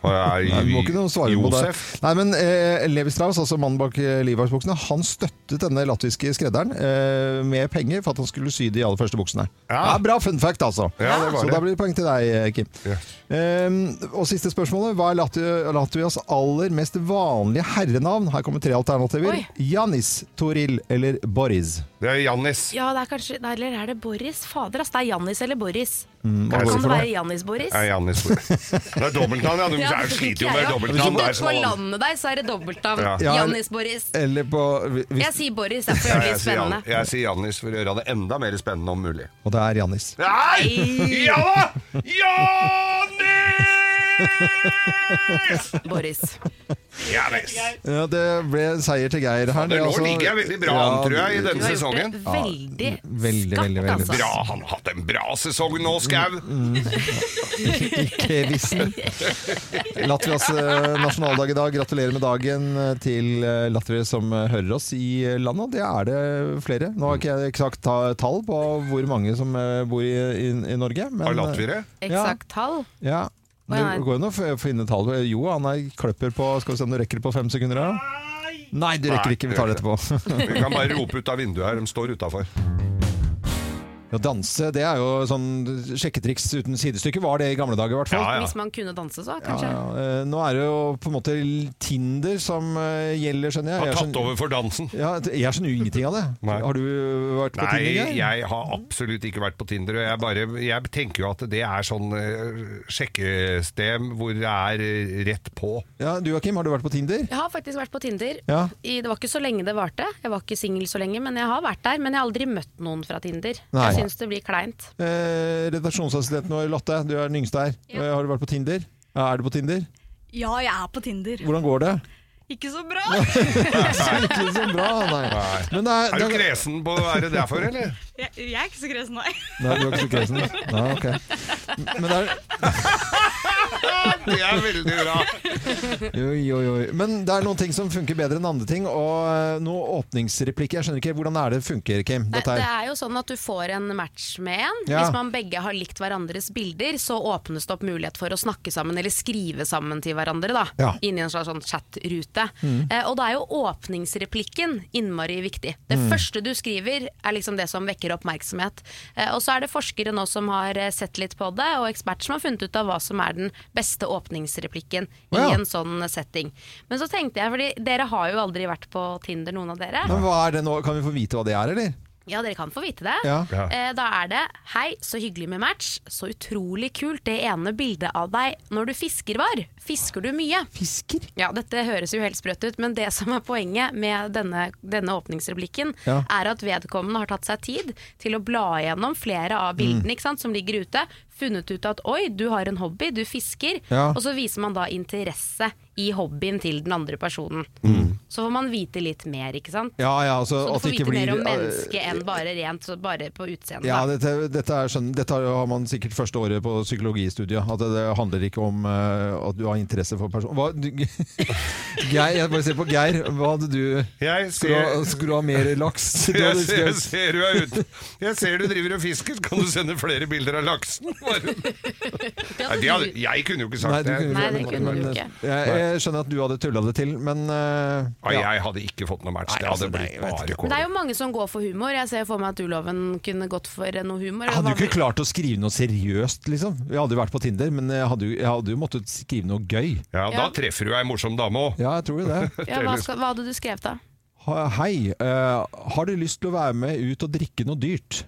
Og jeg-
Nei, du må ikke noe svare på det.
Josef.
Nei, men eh, Levi Strauss, altså mannen bak eh, livvaktsbuksene, han støttet denne latviske skredderen eh, med penger for at han skulle sy de aller første buksene.
Ja.
Ja, bra fun fact, altså.
Ja, det var
Så
det.
da blir det poeng til deg, eh, Kim.
Yes.
Ehm, og siste spørsmålet. Hva er Latvi- Latvias aller mest vanlige herrenavn? Her kommer tre alternativer.
Oi.
Janis, Toril eller Boris.
Det er Jannis.
Ja, det er kanskje Nei, eller er det Boris? Fader, ass. Det er Jannis eller Boris.
Hva
Kan
går
Kan
det
det
for
være Jannis-Boris?
Ja, Jannis. Det er dobbeltnavn, ja. Du
Ja,
jeg
det
sliter jo
tenker
med
jeg, ja.
dobbeltnavn.
Hvis
der
du
som
bor på
alle-
landet der, så er det dobbeltnavn.
Ja.
Ja,
Jannis-Boris.
Eller på hvis,
Jeg sier Boris, derfor
Ja,
gjør det
jeg
litt
sier Jan-
spennende.
Jeg sier Jannis for å gjøre det enda mer spennende om mulig.
Og det er Janis.
Nei! Ja da! Jannis!
Boris.
Jannis.
Ja, det ble seier til Geir her.
Det,
er
nå
altså-
ligger jeg veldig bra
Ja,
an, tror jeg, i
Du
denne
har gjort
sesongen.
det Eh, veldig
veldig, veldig,
skapt,
veldig
altså.
Bra, Han har hatt en bra sesong nå, Skau.
Kevissen. Latvias eh, nasjonaldag i dag. Gratulerer med dagen eh, til eh, latviere som eh, hører oss i eh, landet. Og det er det flere. Nå har ikke jeg eksakt ta- tall på hvor mange som eh, bor i, i, i Norge. Men, eh,
Av latviere.
Eksakt tall.
Ja.
Å,
Det
ja, nei.
går jo an å f- finne tall. Eh, Jo, han er kløpper på Skal vi se om du rekker det på fem sekunder her, da? Nei, du rekker
Nei,
ikke. Vi tar det etterpå.
Vi kan bare rope ut av vinduet her. De står utafor.
Å danse, det er jo sånn sjekketriks uten sidestykke. Var det i gamle dager, i hvert fall.
Ja, ja.
Hvis man kunne danse, så
Ja,
kanskje.
ja. Eh, Nå er det jo på en måte Tinder som eh, gjelder, skjønner jeg.
Har
Jeg
tatt
sånn-
skjønner,
over for dansen.
ja, jeg skjønner jo ingenting av det.
Nei.
Har du vært på
Nei,
Tinder? Geir?
jeg har absolutt ikke vært på Tinder. Og jeg, bare, jeg tenker jo at det er sånn eh, sjekkestem hvor det er eh, rett på.
Ja, du og Kim, har du vært på Tinder?
Jeg har faktisk vært på Tinder.
Ja.
I, det var ikke så lenge det varte. Jeg var ikke singel så lenge, men jeg har vært der. Men jeg har aldri møtt noen fra Tinder.
Nei.
Jeg syns det blir kleint.
Eh, redaksjonsassistenten vår, Lotte, du er den yngste her. Eh, Har du vært på Tinder? Ja, er du på Tinder?
Ja, jeg er på Tinder.
Hvordan går det?
Ikke så bra!
Ikke så bra, nei.
Nei.
Men det er,
Er du
det er,
kresen på å være derfor, eller?
Jeg, jeg er ikke så kresen, nei.
nei, du er ikke så kresen. Nei, ok. Men det er,
Det er veldig bra.
Oi, oi, oi. Men det er noen ting som funker bedre enn andre ting, og eh, noen åpningsreplikker. Jeg skjønner ikke hvordan er det funker, Kim.
Nei,
Dette
det
her.
er jo sånn at du får en match med en.
Ja.
Hvis man begge har likt hverandres bilder, så åpnes det opp mulighet for å snakke sammen eller skrive sammen til hverandre. da
Ja. Mm.
Inni en slags sånn chatrute. Eh, og da er jo åpningsreplikken innmari viktig. Det
Mm.
første du skriver er liksom det som vekker oppmerksomhet. Eh, og så er det forskere nå som har eh, sett litt på det, og eksperter som har funnet ut av hva som er den beste åpningsreplikken
Å,
i
ja.
en sånn setting. Men så tenkte jeg, fordi dere har jo aldri vært på Tinder, noen av dere.
Men hva er det nå? Kan vi få vite hva det er, eller?
Ja, dere kan få vite det.
Ja.
Ja.
Eh, da er det 'Hei, så hyggelig med match'. Så utrolig kult det ene bildet av deg når du fisker var. Fisker du mye?
Fisker?
Ja, dette høres jo helt sprøtt ut, men det som er poenget med denne, denne åpningsreplikken,
Ja.
er at vedkommende har tatt seg tid til å bla gjennom flere av
Mm.
bildene ikke sant, som ligger ute, funnet ut at 'oi, du har en hobby, du fisker',
Ja.
og så viser man da interesse i hobbyen til den andre personen.
Mm.
Så får man vite litt mer, ikke sant.
Ja, ja, altså,
Så du
at
får
det
vite
ikke blir
mer om mennesket enn bare rent så bare på utseendet.
Ja,
da.
dette, dette, er skjønn, dette har- har man sikkert første året på psykologistudiet. At det, det handler ikke om eh, at du har interesse for personen Hva- du- Geir, Jeg bare ser på Geir. Hva hadde du?
Jeg
Skulle du ha,
ser,
skulle du ha mer laks? Du
jeg
hadde-
ser, jeg ser du er ute. Jeg ser du driver og fisker. Kan du sende flere bilder av laksen? Bare- Nei, det hadde, jeg kunne jo ikke
Nei,
sagt
du
det.
kunne,
Nei, det
men-
kunne du
men- eh,
ikke.
Jeg, jeg skjønner at du hadde tulla det til, men eh,
Nei,
ja.
jeg hadde ikke fått noe match.
Nei,
Det hadde
altså, nei,
blitt
jeg vet
bare
ikke.
Men det er
kål.
jo mange som går for humor. Jeg ser for meg at du, Loven, kunne gått for noe humor.
Jeg hadde jo
Hva-
ikke klart å skrive noe seriøst, liksom. Jeg hadde jo vært på Tinder, men jeg hadde jo, jeg hadde jo måttet skrive noe gøy.
Ja, da
Ja.
treffer du ei morsom dame òg.
Ja, jeg tror jo det.
ja, hva, skal, hva hadde du skrevet da?
Ha, hei, eh, har du lyst til å være med ut og drikke noe dyrt?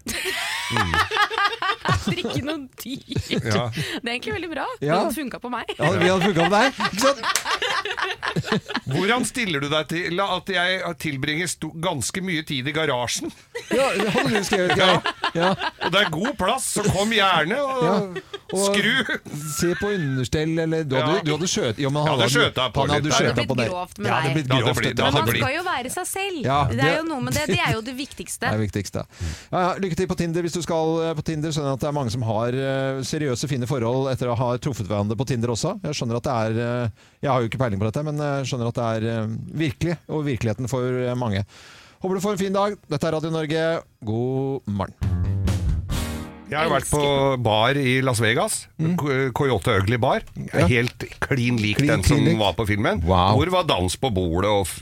Drikke noe dyrt.
Ja.
Det er egentlig veldig bra.
Ja.
Det funka på meg.
Ja, vi hadde funka med deg, ikke sant?
Hvordan stiller du deg til at jeg tilbringer sto- ganske mye tid i garasjen?
Ja, det hadde du skrevet, Geir.
Ja.
Og det er god plass, så kom gjerne og
Ja.
skru!
Se på understell, eller Du hadde,
Ja.
du hadde skjøt... Ja, men han
Jeg hadde skjøta på
han
litt
hadde
der.
skjøta
Det hadde
på
blitt
deg.
grovt med
Ja, det hadde
deg.
blitt
Det hadde
grovt.
blitt-
Det
det
hadde
hadde
Man
blitt
skal jo være seg selv.
Ja,
det er
det-
jo noe med det. Det er jo det viktigste.
det er viktigst, det. Ja, ja, lykke til på Tinder hvis du skal eh, på Tinder. Skjønner at det er mange som har eh, seriøse, fine forhold etter å ha truffet hverandre på Tinder også. Jeg skjønner at det er eh, Jeg har jo ikke peiling på dette, men jeg skjønner at det er eh, virkelig, og virkeligheten for eh, mange. Håper du får en fin dag. Dette er Radio Norge. God morgen.
Jeg har jo vært på bar i Las Vegas. Ko- Coyote Ugly Bar.
Ja.
Helt klin lik
Klin-
den som
klin lik.
var på filmen.
Wow.
Hvor var dans på bordet og f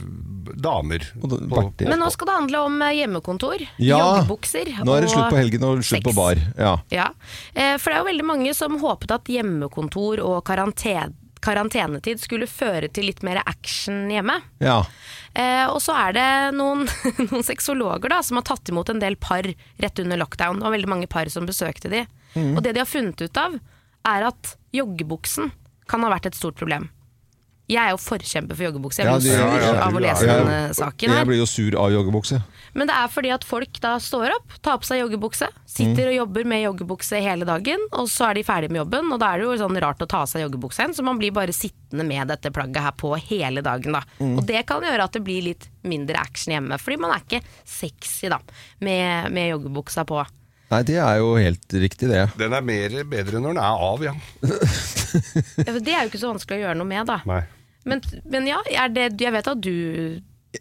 damer.
Og da-
på,
barter.
Men nå skal det handle om eh, hjemmekontor,
Ja,
joggebukser
Nå er det
og-
slutt på helgen og slutt på
sex.
bar. Ja.
Ja, eh, for det er jo veldig mange som håpet at hjemmekontor og karantene, karantenetid skulle føre til litt mer action hjemme.
ja.
Eh, og så er det noen, noen sexologer da, som har tatt imot en del par rett under lockdown. Det var veldig mange par som besøkte de.
Mm.
Og det de har funnet ut av, er at joggebuksen kan ha vært et stort problem. Jeg er jo forkjemper for joggebukse. Jeg
Ja,
blir
de-
sur
ja, ja,
av å
du er
lese
jo-
denne saken
Jeg
her.
blir jo sur av joggebukse.
Men det er fordi at folk da står opp, tar på seg joggebukse, sitter og jobber med joggebukse hele dagen, og så er de ferdig med jobben, og da er det jo sånn rart å ta av seg joggebuksa igjen, så man blir bare sittende med dette plagget her på hele dagen, da. Og det kan gjøre at det blir litt mindre action hjemme, fordi man er ikke sexy, da, med, med joggebuksa på.
Nei, det er jo helt riktig, det.
den er mer, bedre når den er av, ja.
Ja, for Det er jo ikke så vanskelig å gjøre noe med, da.
Nei.
Men, men ja, er det, jeg vet at du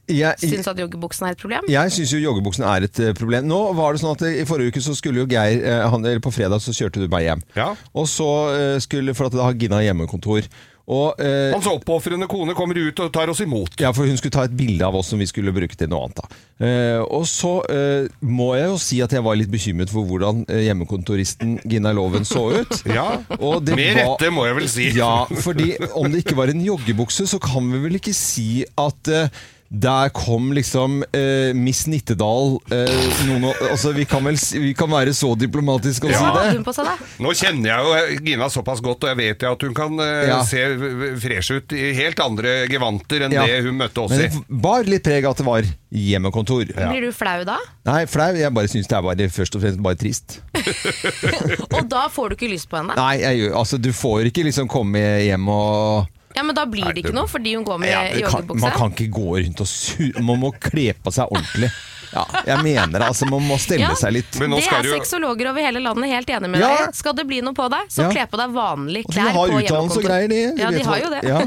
Jeg,
syns at joggebuksen er et problem.
jeg syns jo joggebuksen er et eh, problem. Nå var det sånn at eh, I forrige uke så skulle jo Geir eh, han, Eller på fredag så kjørte du meg hjem.
Ja.
Og så eh, skulle For at da har Gina hjemmekontor. Og eh,
Hans oppofrende kone kommer ut og tar oss imot.
Ja, for hun skulle ta et bilde av oss som vi skulle bruke til noe annet. da. Eh, og så eh, må jeg jo si at jeg var litt bekymret for hvordan eh, hjemmekontoristen Gina Loven så ut.
Ja.
Og det
Med
var-
rette, må jeg vel si.
Ja, fordi om det ikke var en joggebukse, så kan vi vel ikke si at eh, der kom liksom eh, Miss Nittedal eh, noen, å- altså, vi, kan vel, si- vi kan være så diplomatiske og
Hva
si
hadde
det.
hun på seg, da?
Nå kjenner jeg jo Gina såpass godt, og jeg vet jo at hun kan eh,
Ja.
se v- v- fresh ut i helt andre gevanter enn
Ja.
det hun møtte oss
Men
i.
det bar litt preg av at det var hjemmekontor.
Blir du flau da?
Nei, flau. Jeg bare syns det er bare, først og fremst bare trist.
Og da får du ikke lyst på henne?
Nei, jeg, gjør- altså du får ikke liksom komme hjem og
Ja, men da blir det ikke
det-
noe fordi hun går med
ja, du kan, Man
joggebukse.
kan ikke gå rundt og sur... Man må kle på seg ordentlig. Ja, jeg mener det. Altså, man må stelle
Ja.
seg litt.
Men nå
det
skal
er
du jo-
sexologer over hele landet helt enig med
Ja.
deg. Skal det bli noe på deg, så
Ja.
kle på deg vanlige
Og de
klær
har
på
utdannelse og
hjemmekontor.
greier, de. de
ja, de
vet
har
hva-
jo det.
Ja.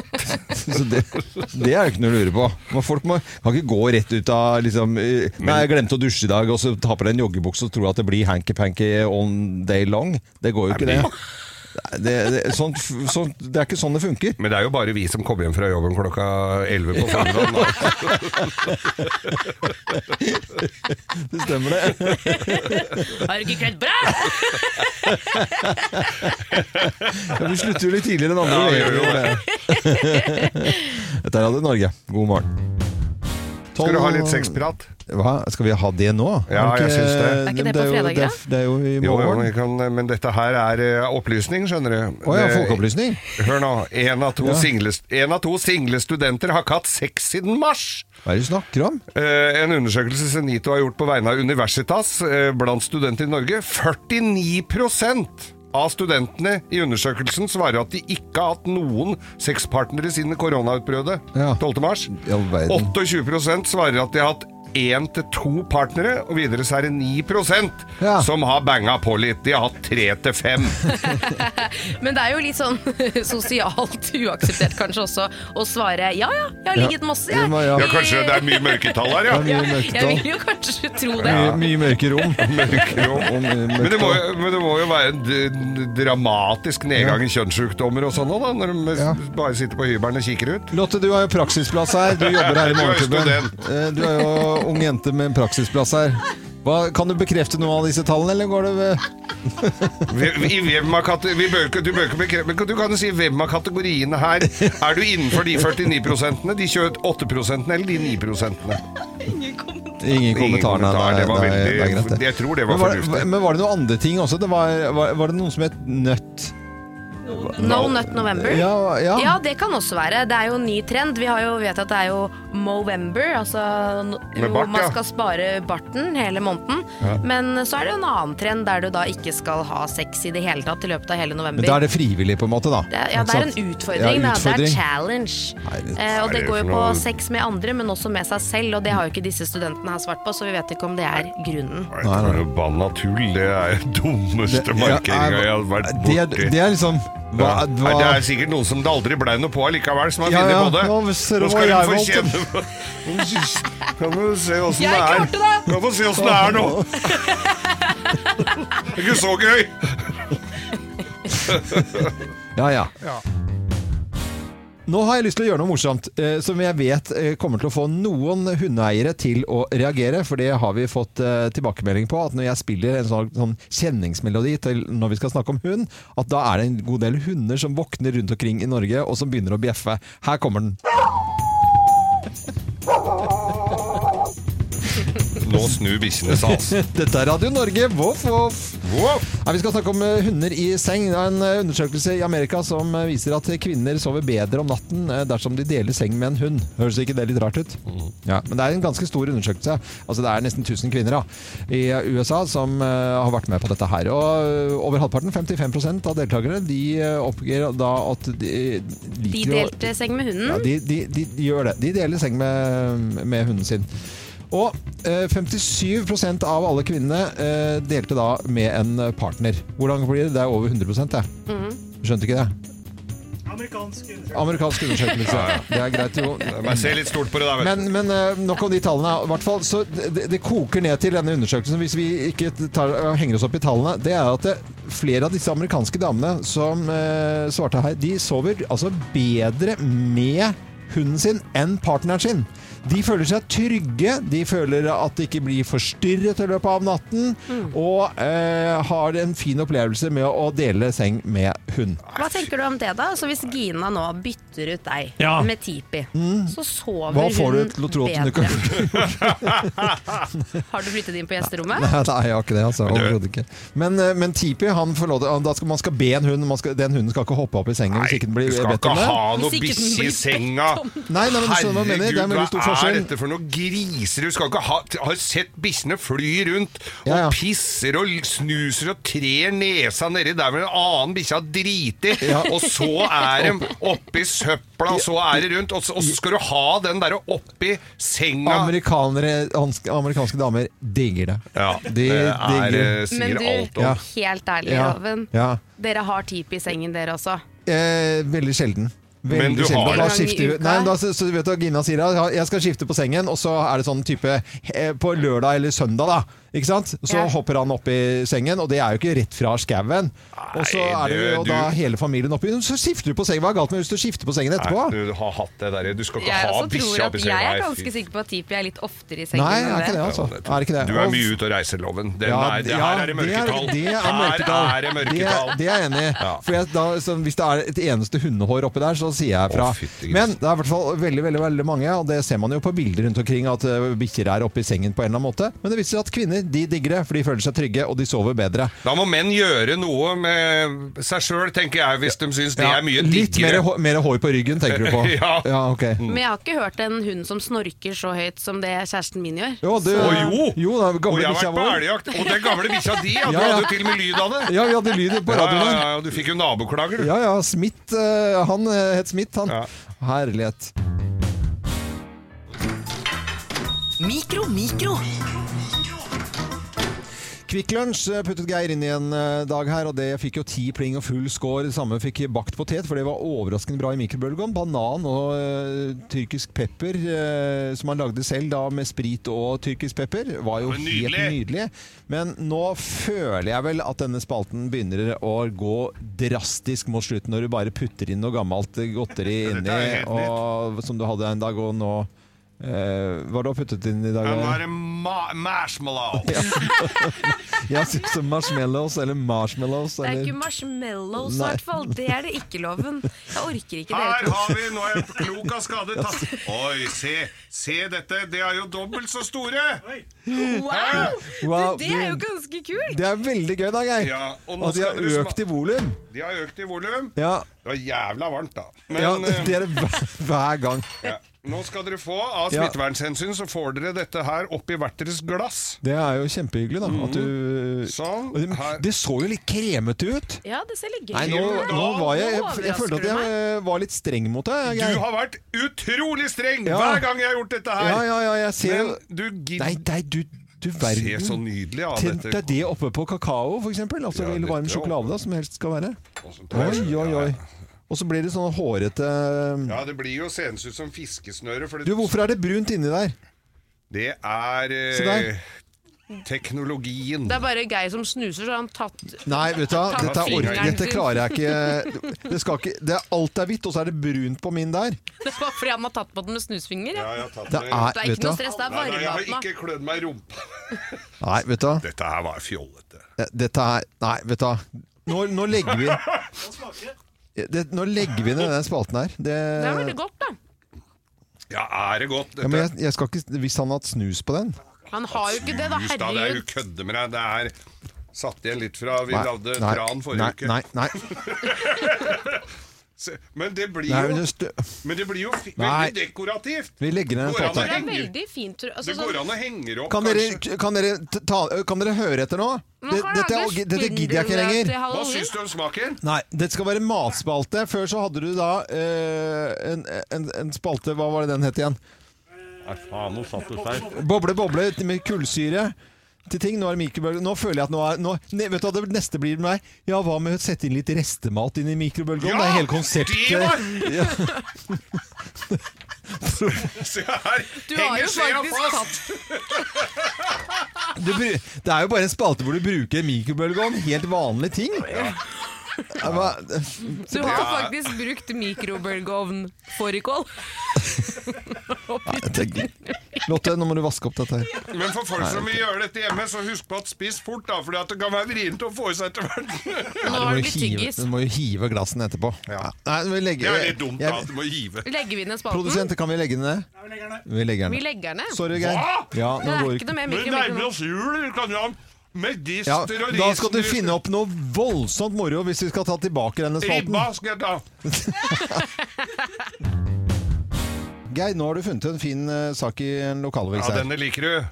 Så det, det er jo ikke noe å lure på. Men folk må, kan ikke gå rett ut av liksom, eh, Nei, jeg glemte å dusje i dag, og så ta på deg en joggebukse og tro at det blir hanky-panky on day long. Det går jo ikke, det. Nei, Det, det, sånn, f- sånn, det er ikke sånn det funker.
Men det er jo bare vi som kommer hjem fra jobben klokka 11 på formiddagen. da.
Det stemmer, det.
Har du ikke kledd bra?
Ja, Vi slutter jo litt tidligere enn andre.
Ja,
vi
vi gjør jo
Dette er Radio Norge. God morgen.
Skal du ha
Tolv-
litt sexprat?
Hva? Skal vi ha det nå?
Ja,
Er det
jeg
ikke-
syns det.
Er ikke det på
jo-
fredager,
det er- Det er jo i
Jo, jo,
morgen.
vi kan, men dette her er eh, opplysning, skjønner du.
Å ja,
Det-
folkeopplysning.
Hør nå. En av, to
Ja.
single, en av to single studenter har ikke hatt sex siden mars!
Hva er det du snakker om?
Eh, en undersøkelse Senito har gjort på vegne av Universitas eh, blant studenter i Norge. 49 av studentene i undersøkelsen svarer at de ikke har hatt noen sexpartnere siden koronautbruddet
Ja.
12. mars.
I all verden.
28 svarer at de har hatt én til to partnere, og videre så er det 9
Ja.
som har banga på litt. De har hatt tre til fem.
Men det er jo litt sånn sosialt uakseptert kanskje også å svare ja ja, jeg har ligget masse, jeg.
Ja, ja.
Ja, kanskje det er mye mørketall her, ja.
Det er mye
Jeg
mørketall.
vil jo kanskje tro det.
Mye, mye mørke rom. Og mye
Men det, må,
mørketall.
jo- men det må jo være en d- dramatisk nedgang i kjønnssykdommer og sånn òg, da. Når de s-
Ja.
bare sitter på hybelen og kikker ut.
Lotte, du har jo praksisplass her. Du jobber her i
Du er jo
Morgenklubben.
student.
Eh, Du er jo ung jente med en praksisplass her. Hva, kan du bekrefte noe av disse tallene, eller går det ved
Vi, i hvem av kate- vi bør, ikke- du bør ikke bekrefte Men du kan jo si hvem av kategoriene her er du innenfor de 49 de 28 eller de 9
Ingen kommentar, nei.
kommentar,
nei,
det var
nei,
veldig-
det er greit, det.
jeg tror det var
men var,
fornuftig.
Men var det noen andre ting også? Det var, var, var det noen som het Nøtt?
No Nut November.
Ja, ja.
Ja, det kan også være. Det er jo en ny trend. Vi har jo vet at det er jo Movember, altså n-
Med
hvor
bart, ja.
man skal spare barten hele måneden. Men så er det en annen trend der du da ikke skal ha sex i det hele tatt i løpet av hele november.
Men da er det frivillig, på en måte, da.
Det er, ja, det er en utfordring.
Ja,
da. Det
utfordring.
er challenge.
Herregud.
Eh,
Hva
og
er
det
det
går jo
for
på
noe?
sex med andre, men også med seg selv. Og det har jo ikke disse studentene her svart på, så vi vet ikke om det er grunnen.
Nei, nei, nei. Forbanna tull, det er den dummeste markeringa jeg har vært
det, er-
borti.
det er liksom hva,
Ja. Nei,
hva,
det er sikkert noen som det aldri blei noe på likevel, som har
Ja,
funnet
ja.
på det.
Ja, hvis det
Nå
var
skal
jeg
hun få
valgte.
kjenne Kan du se åssen
Jeg
det er?
klarte det!
Kan få se åssen det er nå! Det er ikke så gøy!
Ja, ja. Nå har jeg lyst til å gjøre noe morsomt eh, som jeg vet eh, kommer til å få noen hundeeiere til å reagere, for det har vi fått eh, tilbakemelding på. At når jeg spiller en sånn, sånn kjenningsmelodi til når vi skal snakke om hund, at da er det en god del hunder som våkner rundt omkring i Norge og som begynner å bjeffe. Her kommer den.
Nå snur bikkjene seg, altså.
Dette er Radio Norge, voff voff!
Wow.
Nei, vi skal snakke om eh, hunder i seng. Det er en eh, undersøkelse i Amerika som eh, viser at kvinner sover bedre om natten eh, dersom de deler seng med en hund. Høres ikke det litt rart ut? Ja, men det er en ganske stor undersøkelse. Altså, det er nesten 1000 kvinner da, i USA som eh, har vært med på dette her. Og eh, over halvparten, 55 av deltakerne, de eh, oppgir da at de eh, liker
De
å-
delte seng med hunden.
ja, de, de, de, de gjør det. De deler seng med, med hunden sin. Og eh, 57 av alle kvinnene eh, delte da med en partner. Hvordan blir det? Det er over 100 det. Skjønte ikke det?
Amerikansk undersøkelse.
Amerikansk undersøkelse. Det er greit, jo.
Jeg ser litt stort på det der, vet du.
Men, men eh, nok om de tallene. I hvert fall, så det, det koker ned til denne undersøkelsen, hvis vi ikke tar, eh, henger oss opp i tallene, det er at det, flere av disse amerikanske damene som eh, svarte her, de sover altså bedre med hunden sin enn partneren sin. De føler seg trygge, de føler at de ikke blir forstyrret i løpet av natten, og eh, har en fin opplevelse med å dele seng med hund.
Hva tenker du om det, da? Så hvis Gina nå bytter ut deg
Ja.
med Tipi, så sover
Mm. Hva får du
hun
til å tro at hun ikke
bedre. Har du flyttet inn på gjesterommet?
Nei, nei, jeg har ikke det. altså, overhodet ikke. Men, eh, men Tipi, han får lov til, han- da skal, man skal be en hund man skal, Den hunden skal ikke hoppe opp i sengen hvis ikke den
Nei,
blir
du skal
bedt
ikke
om det.
ha noe
Hvis ikke den
bikkje
blir
i
bedt
senga.
om
Nei, nei, men du skjønner hva jeg mener. Det er en veldig stor
hva er
forskjell.
dette for noe griser? Du skal ikke ha Har du sett bikkjene fly rundt og
Ja, ja.
pisser og snuser og trer nesa nedi der hvor en annen bikkje har driti, og så er de oppi søpla, og så er de rundt, og så, og så skal du ha den derre oppi senga.
Amerikanere, hans- amerikanske damer digger det.
Ja,
de
det er,
digger
eh,
Men
sier
du,
alt om
Ja.
helt ærlig,
Ja.
Loven.
Ja.
Dere har Tipi i sengen, dere også.
Eh, veldig sjelden. Veldig
Men du har
sjelden. Da
det.
En gang i
skifter vi-
uka.
Nei, da, så, så vet du hva Gina sier da? Jeg skal skifte på sengen, og så er det sånn type eh, På lørdag eller søndag, da. Ikke sant? Så
Ja.
hopper han opp i sengen, og det er jo ikke rett fra skauen. Og så
Nei,
er det
du-
jo da
du-
hele familien oppi. Så skifter du på sengen. Hva er galt med hvis du skifter på sengen etterpå?
Nei, du har hatt det der. Du skal ikke
Jeg
ha
også
bikkja
tror at
oppi senga.
jeg er
Nei,
ganske
fy
sikker på at Tipi er litt oftere i sengen
Nei,
enn
er ikke det, altså. Er ikke det.
Du er
Og-
mye ute og reiser, Loven. Den
Ja,
er, det
ja,
her er det
Det er,
mørketall.
det er
Her
mørketall.
er det mørketall.
Det, det er jeg enig i.
Ja.
For jeg, da, så hvis det er et eneste hundehår oppi der, så sier jeg fra.
Å, fytti grisen.
Men det er i hvert fall veldig veldig, veldig mange, og det ser man jo på bilder rundt omkring, at eh, bikkjer er oppi sengen på en eller annen måte. Men det viser seg at kvinner de digger det, for de føler seg trygge, og de sover bedre.
Da må menn gjøre noe med seg sjøl, tenker jeg, hvis de syns det
Ja,
er mye
Litt mer,
diggere.
hå- mer hår på ryggen, tenker du på.
Ja.
ok.
Men jeg har ikke hørt en hund som snorker så høyt som det kjæresten min gjør.
Jo, du,
Å, jo!
jo da,
og
gamle
jeg har
bikkja
vært på
vår.
elgjakt, og den gamle bikkja di, ja,
Ja,
du
ja.
hadde jo til og med lyd av det.
Ja, vi hadde lyd på
Ja,
radioen.
ja, ja, du fikk jo naboklager, du.
Ja, ja, Smith, eh, han eh, het Smith, han.
Ja.
Herlighet.
Mikro, mikro.
Kvikk Lunsj eh, puttet Geir inn i en eh, dag her, og det fikk jo ti pling og full score. Det samme fikk bakt potet, for det var overraskende bra i mikrobølgeovn. Banan og eh, tyrkisk pepper, eh, som han lagde selv da med sprit og tyrkisk pepper, var jo
Det var
helt
nydelig.
nydelig. Men nå føler jeg vel at denne spalten begynner å gå drastisk mot slutten, når du bare putter inn noe gammelt eh, godteri
Ja, dette
inni,
er helt
og, som du hadde en dag, og nå eh, Hva har du har puttet inn i dag?
Ja, Nå
Geir?
er det ma marshmallow.
Jeg syns marshmallows eller marshmallows
Det er
eller
ikke marshmallows, i
Nei.
hvert fall. Det er det ikke, Loven. Jeg orker ikke
Her
dere to.
har vi Nå er jeg klok av skade tatt Oi, se, se dette! Det er jo dobbelt så store!
Wow!
Wow,
Det er jo
du-
ganske kult!
det er veldig gøy da, Geir.
Ja, og nå
at de
skal
har
dere sma-
økt i volum.
De har økt i volum.
Ja,
Det var jævla varmt, da. Men
ja,
eh,
det er det hver, hver gang.
ja. Nå skal dere få, av
Ja.
smittevernhensyn, så får dere dette her oppi hvert deres glass.
Det er jo kjempehyggelig, da. At du
Sånn,
Og det,
her.
det så jo litt kremete ut.
Ja, det ser litt gøy
Nei, nå,
Jo,
nå
da-
var jeg,
nå
jeg Jeg følte
overrasker
at
du
jeg eh, var litt streng mot deg.
Du
Jeg,
har vært utrolig streng
Ja.
hver gang jeg har gjort dette her!
ja, ja, ja, jeg ser jo
Men du
Nei,
gidder
nei, du, du
Se så
verden.
nydelig av
Tenk
dette.
deg det oppe på kakao, for eksempel. Altså,
Ja,
eller varm
dette er
sjokolade, da, som helst skal være. Oi,
Oi,
oi, oi. Og så blir det sånn hårete eh,
Ja, det blir jo seende ut som fiskesnøre, for det,
Du, hvorfor er det brunt inni der?
det er
Se der.
eh, teknologien.
Det er bare Geir som snuser, så har han tatt
Nei, vet du hva,
Ta
dette, er ork,
fingeren.
dette klarer jeg ikke. Det skal ikke det er, alt er hvitt, og så er det brunt på min der.
Det var fordi han har tatt på den med snusfinger.
Ja,
Ja.
jeg har tatt
Det
meg-
er,
Det er
vet
ikke
du
noe
hva.
stress, det er
Nei, nei, jeg har
varmeatma.
ikke klødd meg i rumpa.
Nei, vet du hva.
Dette her var fjollete.
Dette er Nei, vet du hva. Nå, nå legger vi det, Nå legger vi ned den spalten her. Det,
Det er veldig godt, da.
Ja, er det godt?
ja,
Dette
men jeg, jeg skal ikke, hvis han har hatt snus på den
Han har jo ikke det, da.
Hus, Det er jo
Herregud.
kødde med deg. Det er satt igjen litt fra vi lagde
nei,
tran forrige
nei,
uke.
nei, nei,
Se, Men det blir
nei,
jo,
men det stø-
men det blir jo fi-
Nei.
veldig dekorativt.
Vi legger ned den
Går an å
spalten.
Det er
henge-
veldig fint. tror jeg. Altså,
Det
sånn,
går an å henge det opp,
Kan dere,
kanskje.
kan, dere ta, kan dere høre etter nå?
Man
Det,
kan
dette,
lage
er- dette gidder jeg ikke
spindelvev
lenger.
til
Hva
Halloween.
syns du om smaken?
Nei, det skal være matspalte. Før så hadde du da eh, en, en, en spalte Hva var det den het igjen? Boble, boble med kullsyre til ting. Nå er det mikrobølge. Nå føler jeg at nå er nå, ne, Vet du hva det neste blir med meg? Ja, hva med å sette inn litt restemat inn i mikrobølgeovnen? det er hele konseptet.
det var-
Ja.
Se her!
Du har
Henger
jo
skjea
faktisk
fast!
tatt
Du bru- det er jo bare en spalte hvor du bruker mikrobølgeovn. Helt vanlige ting. Ja, hva-
Du har jo faktisk brukt mikrobølgeovn fårikål.
Tenk- Lotte, nå må du vaske opp dette her.
Men for folk som vil gjøre dette hjemme, så husk på at spis fort, da, for det kan være vrient å få i seg etter hvert.
Nå
Du må
har det
jo
blitt
hive,
tyggis.
du må jo hive glassene etterpå.
Ja.
Nei, vi
Det
legger,
er litt dumt da,
jeg-
at du må give.
Legger vi ned spalten?
Produsent, kan vi legge den ned? Vi legger den
Vi
ned.
legger den ned.
Sorry, Geir.
Hva?
Ja,
Det
nå
er
går
ikke noe mer
Vi
mikro.
nærmer
mikro.
oss jul, vi kan jo ha medister
ja,
og risengrøt.
da skal du finne opp noe voldsomt moro hvis vi skal ta tilbake denne spalten.
Ribba skal jeg ta.
Geir, nå har du funnet en fin eh, sak i en lokalavis
Ja,
her.
denne liker du.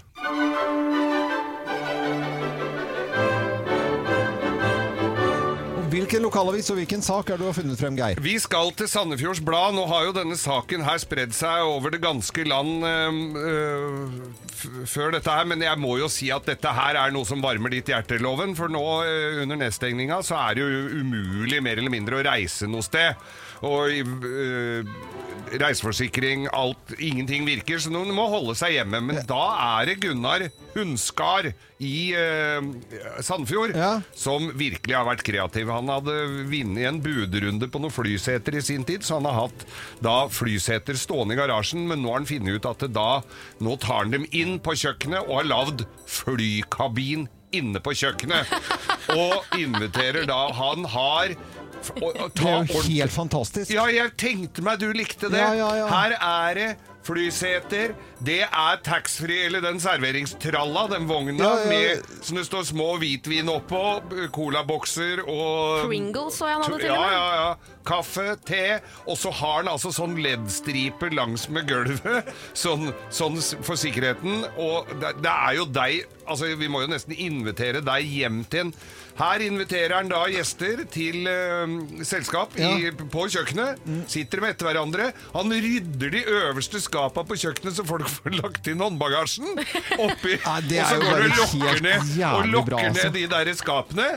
Hvilken lokalavis og hvilken sak er det du har funnet frem, Geir?
Vi skal til Sandefjords Blad. Nå har jo denne saken her spredd seg over det ganske land øhm, øh, f- før dette her, men jeg må jo si at dette her er noe som varmer ditt hjerte, Loven. For nå øh, under nedstengninga så er det jo umulig mer eller mindre å reise noe sted. Og øh, reiseforsikring, alt Ingenting virker, så noen må holde seg hjemme. Men da er det Gunnar Hunskar i øh, Sandfjord
Ja.
som virkelig har vært kreativ. Han hadde vunnet en budrunde på noen flyseter i sin tid, så han har hatt da flyseter stående i garasjen, men nå har han funnet ut at det da, nå tar han dem inn på kjøkkenet og har lagd flykabin inne på kjøkkenet. Og inviterer da Han har f- og, og
Det
ta
er jo
ordentlig
helt fantastisk.
ja, jeg tenkte meg du likte det.
Ja, ja, ja.
Her er det flyseter, det er taxfree, eller den serveringstralla, den vogna
Ja, ja, ja.
med som det står små hvitvin oppå, colabokser og
Pringles så jeg han hadde til
ja,
og med.
ja, ja. Kaffe, te, og så har han altså sånn leddstriper langs med gulvet, sånn, sånn s- for sikkerheten, og det, det er jo deg, altså vi må jo nesten invitere deg hjem til en. Her inviterer han da gjester til eh, selskap i,
Ja.
på kjøkkenet, sitter med etter hverandre, han rydder de øverste skapene på kjøkkenet så folk får lagt inn håndbagasjen oppi,
Ja, det
og
er
så
jo
går du
bare
og
helt
lokker ned,
jævlig
og
bra,
lokker ned
altså.
de der skapene.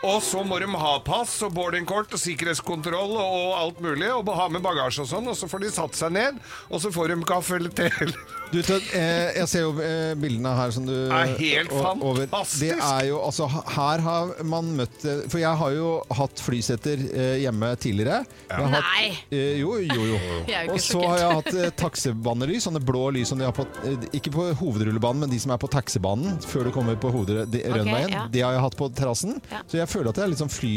Og så må de ha pass og boardingkort og sikkerhetskontroll og alt mulig. Og ha med bagasje og sånn, og så får de satt seg ned, og så får de kaffe eller te. eller-
Du, Tødd, eh, jeg ser jo eh, bildene her som du
Er helt
o-
fantastisk.
Det er jo, altså, ha- her har man møtt eh, For jeg har jo hatt flysetter eh, hjemme tidligere. Jeg har hatt-
Nei.
Eh, jo, jo, jo.
Jeg er jo ikke
Og så
sjokkert.
har jeg hatt eh, taxibanelys, sånne blå lys som de har på eh, Ikke på hovedrullebanen, men de som er på taxibanen før du kommer på hovedrønveien.
ja.
De har jeg hatt på terrassen.
Ja.
Så jeg føler at jeg er litt sånn fly...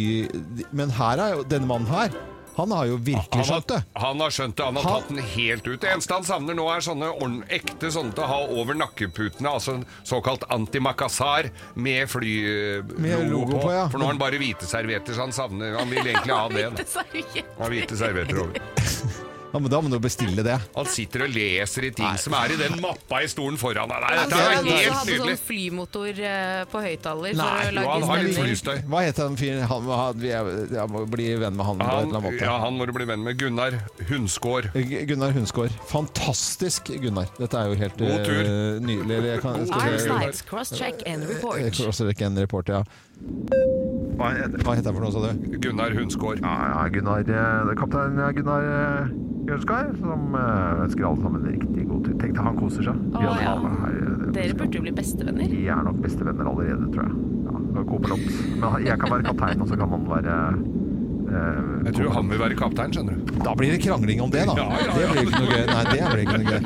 Men her er jo denne mannen her. Han har jo virkelig skjønt det.
han har skjønt det. Han har
Han-
tatt den helt ut. Det eneste han savner nå, er sånne ordn- ekte sånne til å ha over nakkeputene. Altså en såkalt antimakassar med
Med
flylogo
logo
på.
på, ja.
For nå har han bare hvite servietter, så han savner Han vil egentlig ha det. da.
Så er det ikke-
Han har hvite servietter over.
Ja, men da må du bestille det.
Han sitter og leser i ting som er i den mappa i stolen foran deg. Nei,
Han
Dette
skal
er
også ha
helt
på sånn
nydelig.
flymotor eh, på høyttaler
Nei,
for å
Jo, han
lage
har litt
stemning.
flystøy.
Hva heter han fyren han, han, vi er- Jeg må bli venn med han, på en
Han,
eller annen måte.
ja, han må du bli venn med. Gunnar Hundskår.
Gu- Gunnar Hundsgaard. Fantastisk, Gunnar. Dette er jo helt
God
eh,
tur.
nydelig. Eller Jeg kan,
God
skal
Arms,
tur.
vi-
lights, cross-check and
jeg
report.
kan også rekke en report, ja. Hva heter han for noe, sa du?
Gunnar Hundskår.
Ja, Gunnar eh, Kaptein eh, Gunnar Jørnskar, som eh, ønsker alle sammen riktig god tur. Tenk deg, han koser seg.
Å, ja. Dere burde jo bli bestevenner.
Vi eh, er nok bestevenner allerede, tror jeg. Ja, Men jeg kan være kaptein, og så kan han være eh,
Jeg tror han vil være kaptein, skjønner du.
Da blir det krangling om det, da.
Ja, ja, ja.
Det blir ikke noe gøy. Nei, det blir ikke noe gøy.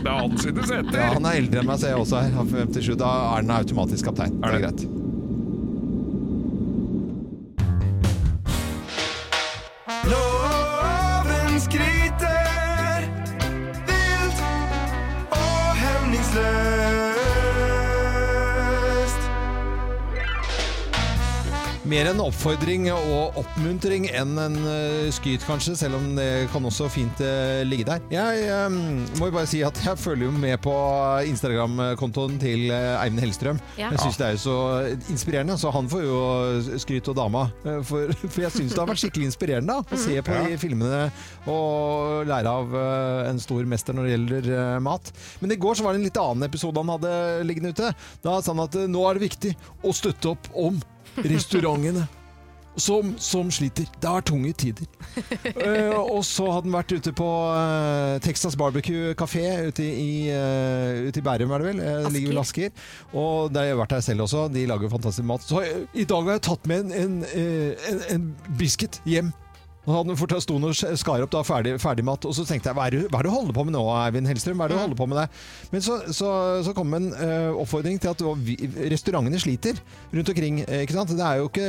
Det er han sine seter!
Ja, han er eldre enn meg, ser jeg også her. Han er 57. Da er han automatisk kaptein. det er
Er det?
greit.
Loven skryter vilt og hemningsløst.
Mer en oppfordring og oppmuntring enn en eh, skryt, kanskje, selv om det kan også fint eh, ligge der. Jeg eh, må jo bare si at jeg følger jo med på Instagram-kontoen til eh, Eivind Hellstrøm.
Ja.
Jeg syns det er jo så inspirerende, så han får jo skryt og dama. eh, For, for jeg syns det har vært skikkelig inspirerende da, å se på de filmene og lære av eh, en stor mester når det gjelder eh, mat. Men i går så var det en litt annen episode han hadde liggende ute. Da sa han at eh, nå er det viktig å støtte opp om restaurantene som, som sliter. Det er tunge tider. Eh, og så hadde han vært ute på eh, Texas Barbecue Café ute i, eh, ute i Bærum, er det vel? Uh, ligger vel Asker. Og der har jeg vært der selv også. De lager jo fantastisk mat. Så eh, i dag har jeg tatt med en, en, eh, en, en biscuit hjem. Og han fort- sto han og sk- skar opp da ferdig, ferdigmat, og så tenkte jeg hva er, det, hva er det du holder på med nå, Eivind Hellstrøm? Hva er det du holder på med der? Men så, så, så kom en eh, oppfordring til at vi, restaurantene sliter rundt omkring. eh, ikke sant? Det er jo ikke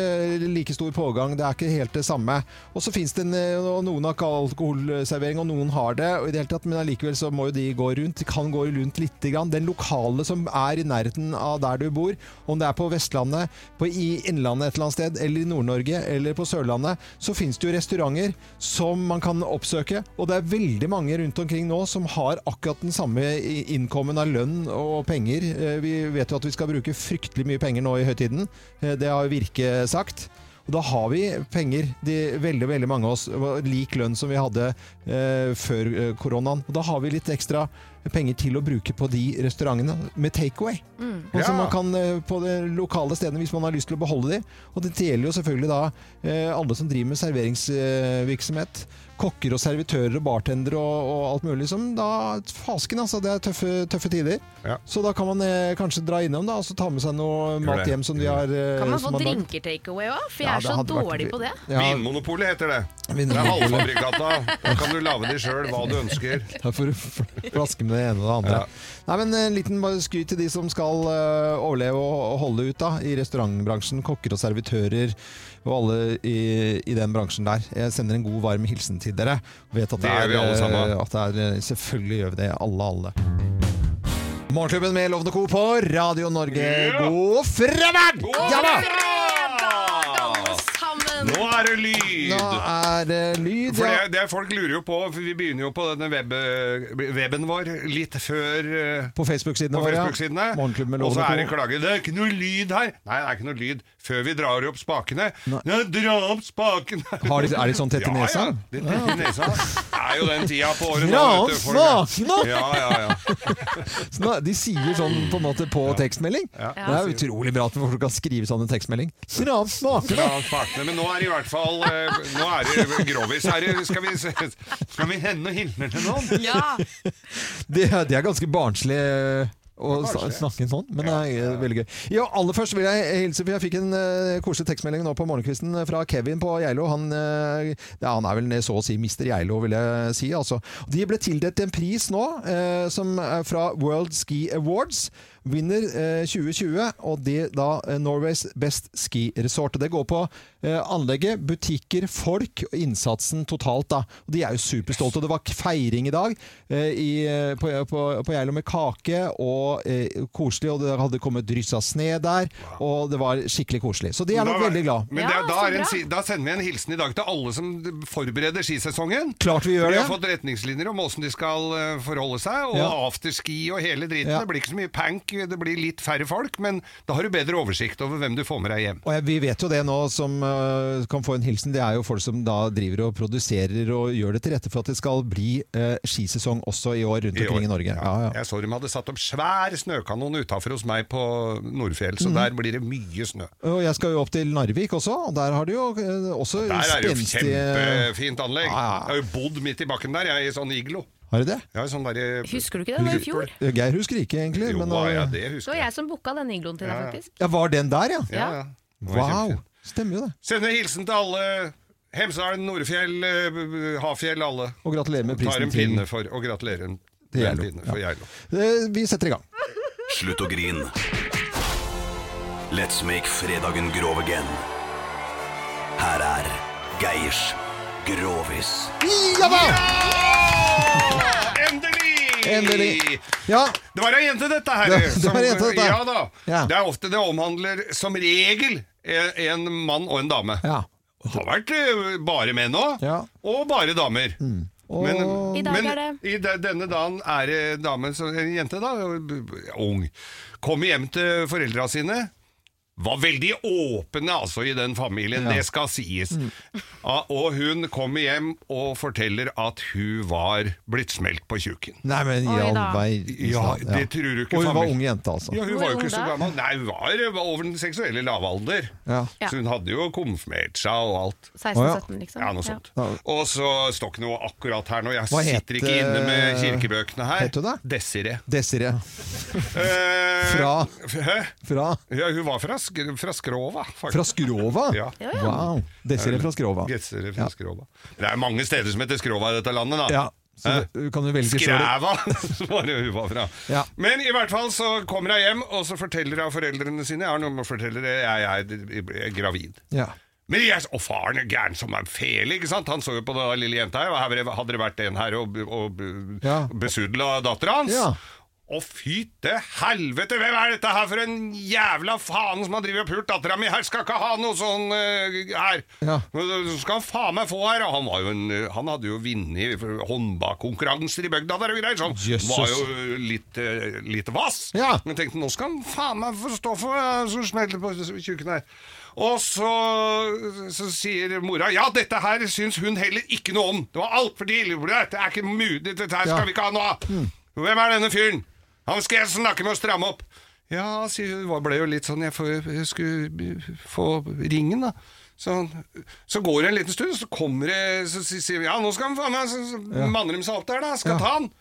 like stor pågang, det er ikke helt det samme. Og så fins det en, eh, og noen har ikke alkoholservering, og noen har det, og i det hele tatt, men allikevel så må jo de gå rundt. De kan gå rundt lite grann. Den lokale som er i nærheten av der du bor, om det er på Vestlandet, på i Innlandet et eller annet sted, eller i Nord-Norge, eller på Sørlandet, så finnes det jo restauranter som man kan oppsøke. Og det er veldig mange rundt omkring nå som har akkurat den samme i- innkommen av lønn og penger. Eh, Vi vet jo at vi skal bruke fryktelig mye penger nå i høytiden. Eh, Det har Virke sagt. Og da har vi penger, de, veldig veldig mange av oss, og lik lønn som vi hadde eh, før eh, koronaen. Og da har vi litt ekstra penger til å bruke på de restaurantene med takeaway. Og som
Ja.
man kan eh, på de lokale stedene hvis man har lyst til å beholde de. Og det gjelder jo selvfølgelig da eh, alle som driver med serveringsvirksomhet. Kokker og servitører og bartendere og, og alt mulig som da Fasken, altså. Det er tøffe, tøffe tider.
Ja.
Så da kan man eh, kanskje dra innom da, og så ta med seg noe mat
det.
hjem som de har eh,
Kan man
som
få
har lagd.
drinker takeaway òg? For jeg
Ja,
er
det
så
hadde vært-
dårlig på det.
Ja,
Vinmonopolet heter det. Det er
vinner.
halvfabrikata. Da kan du lage de sjøl hva du ønsker.
Her får du fl- flaske med det ene og det andre.
Ja.
Nei, men En liten bare skryt til de som skal eh, overleve og og holde ut da, i restaurantbransjen. Kokker og servitører og alle i, i den bransjen der. Jeg sender en god, varm hilsen til dere. Vet at det,
Det gjør
er,
vi alle
eh,
sammen.
At det er, eh, selvfølgelig gjør vi det. Alle, alle. Morgenklubben med Lovende Co. på Radio Norge. God fredag! Ja da!
Fredag, alle sammen!
Nå er det
Nå
lyd!
er det lyd.
For
Ja.
det, det Folk lurer jo på for Vi begynner jo på denne web, weben vår litt før eh,
På Facebook-sidene
på
våre. ja.
Facebook-sidene.
Morgenklubben med
Og så
Lovende Co.
er det klager. Det er ikke noe lyd her! Nei, det er ikke noe lyd før vi drar opp spakene. Nei, dra opp spakene!
Har de- er de sånn tett i nesa?
Ja, ja. Det er tett i nesa. Det er jo den tida på året
Dra
nå,
opp
vet du, folk.
spakene!
Ja, ja, ja.
Så nå- De sier sånn på en måte på tekstmelding. Det er utrolig bra at folk kan skrive sånn en tekstmelding. Bra smak!
Ja, partene, men nå er det i hvert fall eh, Nå er det grovis. Er det, skal, vi, se- skal vi hende og hilne til noen?
Ja,
Det, er- det er ganske barnslig eh, å sna-
Barnslig.
snakke sånn, men det er eh, veldig gøy. Ja, aller først vil jeg hilse, for jeg fikk en eh, koselig tekstmelding nå på morgenkvisten eh, fra Kevin på Geilo. Han, eh, ja, han er vel så å si Mr. Geilo, vil jeg si. Altså. De ble tildelt en pris nå, eh, som er fra World Ski Awards. vinner eh, 2020, og det da eh, Norways Best Ski Resort. Og Det går på eh, anlegget, butikker, folk og innsatsen totalt. da. Og De er jo superstolte. og Det var k- feiring i dag eh, i, eh, på, på, på Geilo med kake, og eh, koselig. Og det hadde kommet dryss av sne der, og det var skikkelig koselig. Så de er nok
Da-
veldig glad.
Men det,
Ja,
da,
så
er en,
bra.
si- da sender vi en hilsen i dag til alle som forbereder skisesongen.
Klart vi gjør
De har
det.
fått retningslinjer om åssen de skal eh, forholde seg, og
Ja.
afterski og hele dritten.
Ja.
Det blir ikke så mye pank, det blir litt færre folk, men da har du bedre oversikt over hvem du får med deg hjem.
Og jeg, vi vet jo det nå som øh, kan få en hilsen, det er jo folk som da driver og produserer og gjør det til rette for at det skal bli øh, skisesong også i år rundt
I
omkring
år.
i Norge. Ja, ja.
Jeg så de hadde satt opp svær snøkanon utafor hos meg på Nordfjell,
Mhm.
så der blir det mye snø.
Og jeg skal jo opp til Narvik også, og der har de jo øh, også
Der er det jo
spenstige
kjempefint anlegg.
Ja, ja.
Jeg har jo bodd midt i bakken der, jeg, i sånn iglo.
Har de det?
Jeg har sånn der,
Husker du ikke det? Det var i fjor.
Geir husker ikke, egentlig.
Jo,
men,
da,
øh,
ja, det
Det
husker
var
jeg.
jeg som booka den igloen til deg, faktisk.
ja, var den der, ja?
Ja, ja. Det var
Wow!
kjempefint.
Stemmer jo det.
Sender hilsen til alle. Hemsedalen, Nordfjell, eh, Hafjell, alle.
Og gratulerer med
Tar
prisen
en pinne for, og gratulerer en-
Til
med en
Geilo,
pinne for
ja.
Geilo.
Eh, Vi setter i gang.
Slutt å grin. Let's make fredagen grov again. Her er Geirs Grovis.
Ja da!
Endelig!
Endelig! Ja,
Det var ei jente, dette her.
Det- det var ei jente, dette.
Ja da.
Ja.
Det er ofte det omhandler som regel en en mann og en dame.
ja.
Det har vært eh, bare menn òg,
Ja.
og bare damer. Men,
I dag
men
er det-
i de, denne dagen er det dame, så, en jente da, b- b- ung, kommer hjem til foreldra sine. Var veldig åpne altså i den familien, det skal sies. Ja, og hun kommer hjem og forteller at hun var blitt smelt på tjukken.
Nei, men i
Oi,
all
da.
verden.
Ja, det tror du ikke
Og hun var
familien-
ung jente, altså.
Ja, hun
Hvor
var jo
ung
ikke så
da?
gammel. Nei, hun var, var over den seksuelle lavalder.
Ja.
Ja.
Så hun hadde jo konfirmert seg og alt.
16-17, liksom.
Ja, noe sånt.
Ja.
Og så står ikke noe akkurat her nå. Jeg
Hva het,
sitter ikke inne med
eh,
kirkebøkene her.
het hun det?
Desiree.
Desiree.
Eh,
Fra-
Hæ?
Fra
Ja, hun var fra, Sk- fra Skrova, faktisk.
Fra Skrova?
Ja.
Ja, ja.
Wow. Desiree fra Skrova.
Desiree fra Skrova. Det er mange steder som heter Skrova i dette landet, da.
Ja, så
Hæ?
kan du velge selv.
Skræva, var det hun var fra.
Ja.
Men i hvert fall så kommer hun hjem, og så forteller hun foreldrene sine Jeg har noe med å fortelle dere, jeg, jeg, er gravid.
Ja.
Men jeg, og faren er gæren som en fele, ikke sant? Han så jo på den lille jenta her, og her hadde det vært en her og, og
Ja.
besudla dattera hans.
Ja.
Og fy til helvete, hvem er dette her for en jævla faen som har drevet og pult dattera mi? Her skal ikke ha noe sånn eh, her.
Ja.
Men Så skal han faen meg få her. Og han, var jo en, eh, han hadde jo vunnet håndbakkonkurranser i bygda der og greier. Så han
Jesus.
var jo litt, eh, litt vass.
Ja.
Men jeg tenkte, nå skal han faen meg få stå for eh, så smeller på tjukken her. Og så, så sier mora Ja, dette her syns hun heller ikke noe om. Det var altfor tidlig. Det er ikke mulig. Dette her skal
Ja. Mm.
vi ikke ha noe av. Hvem er denne fyren? Han skal jeg snakke med og stramme opp. Ja, sier hun. Det ble jo litt sånn Jeg, får, jeg skulle få ringen, da. Så, så går det en liten stund, så kommer det Så sier vi ja, nå skal han faen meg Så, så manner de seg opp der, da. Skal
Ja.
ta han.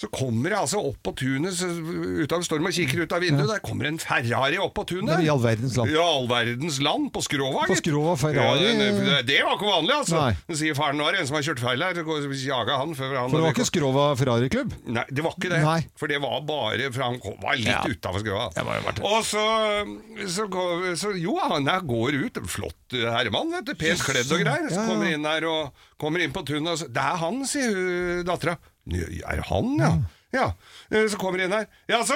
Så kommer det altså opp på tunet, så ut av storm og kikker ut av vinduet, der kommer en Ferrari opp på tunet.
Nei, i all verdens land.
I all verdens land, på Skrova.
På
gitt.
Skrova, Ferrari.
Ja, den- det, det var ikke vanlig, altså.
Nei.
Den sier faren nå er det en som har kjørt feil her, så går- så jaga han før han
For det var ikke Skrova Ferrari-klubb?
Nei, det var ikke det.
Nei.
For det var bare For han kom, var litt utafor skrua.
Jeg var jo verdt det.
Og så, så, går- så Jo, han her går ut. Flott herremann, vet du. Pent kledd og greier. Så
Ja, ja.
kommer inn her og kommer inn på tunet og så Det er han, sier hun dattera. Er han, ja?
Mm.
Ja. Eh, Så kommer inn her. Jaså,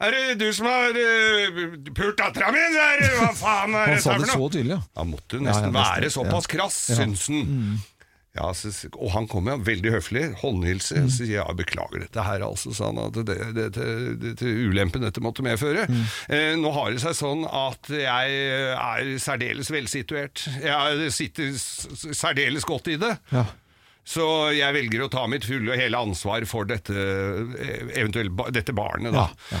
er det du som har eh, pult dattera mi? sier hun. Hva faen er
Han
dette
sa
her
det
for
så
noe?
tydelig, ja.
Han måtte jo
Ja, ja,
nesten
nesten.
være såpass
Ja. Mm.
krass, syns han. Ja, så, og han kom jo veldig høflig, håndhilse,
Mm.
og sier ja, beklager dette her, altså, sa han, at det, det, det, det, det ulempen dette måtte medføre.
Mm.
Eh, nå har det seg sånn at jeg er særdeles velsituert. Jeg sitter s- s- særdeles godt i det.
Ja.
Så jeg velger å ta mitt fulle og hele ansvar for dette, eh, eventuelt ba, dette barnet, da.
Ja, ja.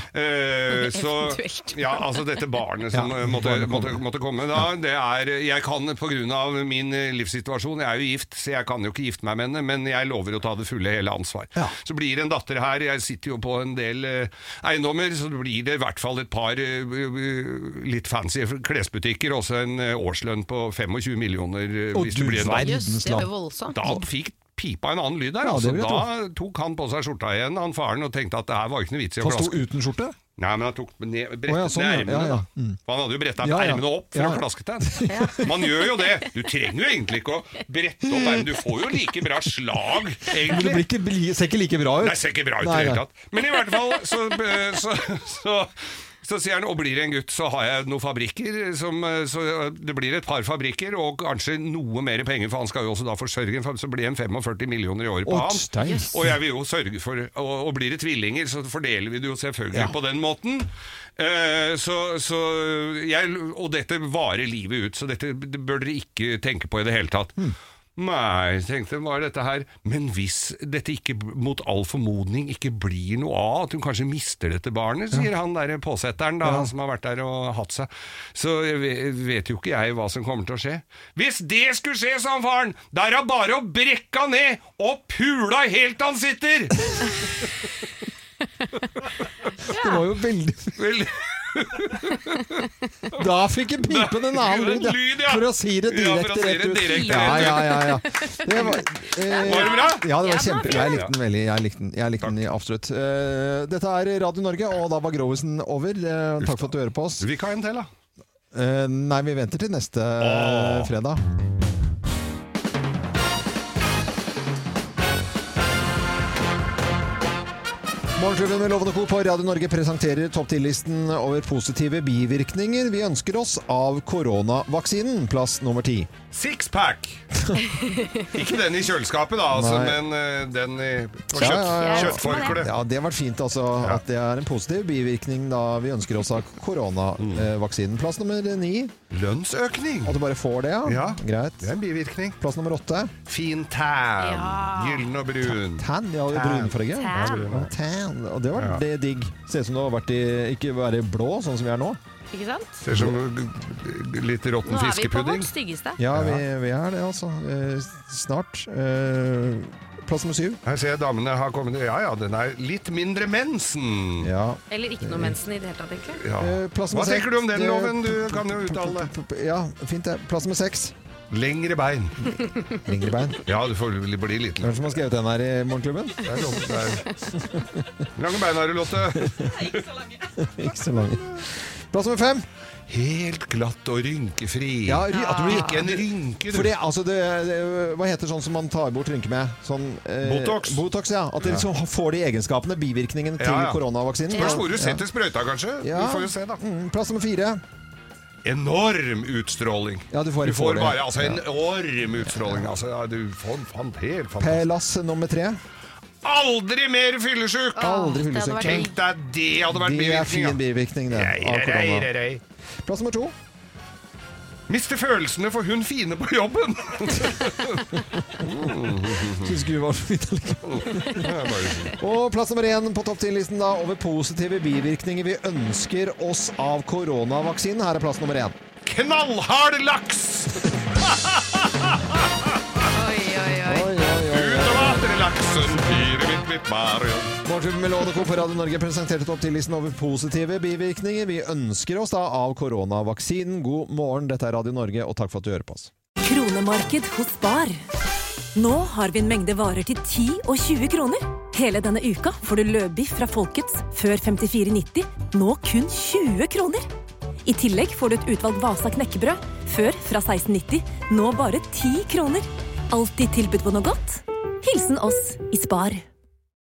Eh, så,
Eventuelt.
ja, altså dette barnet som
Ja,
eh, måtte,
barnet kommer.
måtte, måtte komme da. Det er, eh, jeg kan på grunn av min eh, livssituasjon, jeg er jo gift, så jeg kan jo ikke gifte meg med henne, men jeg lover å ta det fulle hele ansvar.
Ja.
Så blir det en datter her, jeg sitter jo på en del eh, eiendommer, så blir det i hvert fall et par eh, eh, litt fancy klesbutikker, og også en eh, årslønn på 25 millioner. eh,
Å,
hvis
du
det blir en datter.
Jøss,
verdens
det var
land.
voldsomt.
Da fikk pipa en annen lyd der.
Altså- Ja,
altså,
det vil jeg
da tok han på seg skjorta igjen, han faren, og tenkte at det her var ikke noe vits i å
Han sto
klaske.
uten skjorte?
Nei, men han tok ned, brettet
Å, ja, sånn, ja.
ned ermene.
Ja, ja.
da. For han hadde jo bretta
Ja, ja.
ermene opp for
Ja,
å
ja.
klaske den. Man gjør jo det! Du trenger jo egentlig ikke å brette opp ermene. Du får jo like bra slag,
Men det
egentlig.
blir ikke, bli- ser ikke like bra ut.
Nei, ser ikke bra ut i
Nei,
det hele
nei.
tatt. Men i hvert fall så, så, så, så sier han, og blir det en gutt, så har jeg noen fabrikker. Som, så det blir et par fabrikker, og kanskje noe mer penger, for han skal jo også da forsørge en fam- Så blir det en 45 millioner i året på
Å,
han.
stein. Yes.
Og jeg vil jo sørge for Og, og blir det tvillinger, så fordeler vi det jo selvfølgelig
Ja.
på den måten. Eh, så, så jeg, og dette varer livet ut, så dette det bør dere ikke tenke på i det hele tatt.
Hmm.
Nei, tenkte jeg, hva er dette her? Men hvis dette ikke, mot all formodning, ikke blir noe av, at hun kanskje mister dette barnet, sier han der påsetteren, da, han som har vært der og hatt seg, så jeg ve- vet jo ikke jeg hva som kommer til å skje. Hvis det skulle skje, sa han faren, da er det bare å brekke han ned og pule helt til han sitter!
Det var jo veldig
Vel,
Da fikk jeg pipen en annen lyd, ja.
Lyd, ja.
For å si det
Ja, for å
direkte
si
rett
det
ut.
direkte
Ja,
rett ut.
ja, ja, ja. Det var, eh,
Var det bra?
Ja, det
Ja,
var kjempe...
det
Jeg likte den veldig. Jeg likte den, jeg likte den absolutt. Eh, dette er Radio Norge, og da var Grovisen over. Eh, takk for at du hører på oss.
Vi kan en til, da.
Eh, nei, vi venter til neste eh, fredag. Morgenklubben med Lovende Co. på Radio Norge presenterer topp 10-listen over positive bivirkninger vi ønsker oss av koronavaksinen. Plass nummer ti.
Sixpack! Ikke den i kjøleskapet, da, altså,
Nei.
men eh, den i på
Ja,
kjøtt,
ja, ja.
kjøttforkle.
Ja, Det har vært fint altså, at det er en positiv bivirkning da vi ønsker oss av koronavaksinen. Plass nummer ni.
Lønnsøkning!
At du bare får det, ja.
Ja.
Greit.
Det er en bivirkning.
Plass nummer åtte.
Fin tan.
Ja.
Gyllen og brun.
Tan, ja, i
Tan.
brunfarge.
Tan.
Ja, Tan. Og det var
Ja.
det digg. Ser ut som du har vært i Ikke være blå, sånn som vi er nå.
Ikke sant?
Ser som uh, litt råtten
Nå er vi på
fiskepudding.
vårt styggeste.
Ja, Vi, vi er det, altså. Eh, snart. Eh, plass nummer syv.
Her ser jeg damene har kommet Ja ja, den er litt mindre mensen.
Ja.
Eller ikke noe mensen i det hele tatt, egentlig.
Ja.
Eh, plass
Hva
nummer seks.
tenker du om den
Det-
loven? Du kan jo uttale deg.
Ja, fint det. Plass nummer seks.
Lengre bein.
Lengre bein.
Ja, du får bli litt
Hvem som har skrevet den her i Morgenklubben?
Det er lov- det er- Lange bein har du, Lotte.
Ikke så lang. Plass nummer fem.
Helt glatt og rynkefri.
Ja, ry- at du blir-
Ikke en rynke, du.
For det, altså det, det, hva heter sånn som man tar bort rynker med? Sånn, eh,
Botox.
Botox, ja. At det liksom får de egenskapene, bivirkningene til
Ja, ja.
koronavaksinen.
Spørs hvor du
Ja.
setter sprøyta, kanskje.
Ja.
Vi får jo se, da.
Mm, Plass nummer fire.
Enorm utstråling.
Ja, du får-
du
får
får
det.
bare altså, enorm utstråling. Altså, ja, du får fan, helt fantastisk.
Plass nummer tre.
Aldri mer fyllesyk!
Aldri
Det hadde
fyllesyk.
vært
Tenk deg, det hadde vært
Det er fin
bivirkninga.
bivirkning, det. Av korona. Plass nummer to.
Mister følelsene for hun fine på jobben!
Syns ikke vi var så fint allikevel. Og plass nummer én på topp 10-listen da over positive bivirkninger vi ønsker oss av koronavaksinen. Her er plass nummer én.
Knallhard laks!
Oi, oi, oi.
Oi, oi, oi.
Utover laksen, fire mitt, mitt marion.
Morgenklubben med Lovende Co. på Radio Norge presenterte topp 10-listen over positive bivirkninger vi ønsker oss da av koronavaksinen. God morgen, dette er Radio Norge, og takk for at du hører på oss.
Kronemarked hos Spar. Nå har vi en mengde varer til 10 og 20 kroner. Hele denne uka får du løbiff fra Folkets før 54,90, nå kun 20 kroner. I tillegg får du et utvalgt Vasa knekkebrød, før fra 16,90, nå bare 10 kroner. Alltid tilbud på noe godt. Hilsen oss i Spar.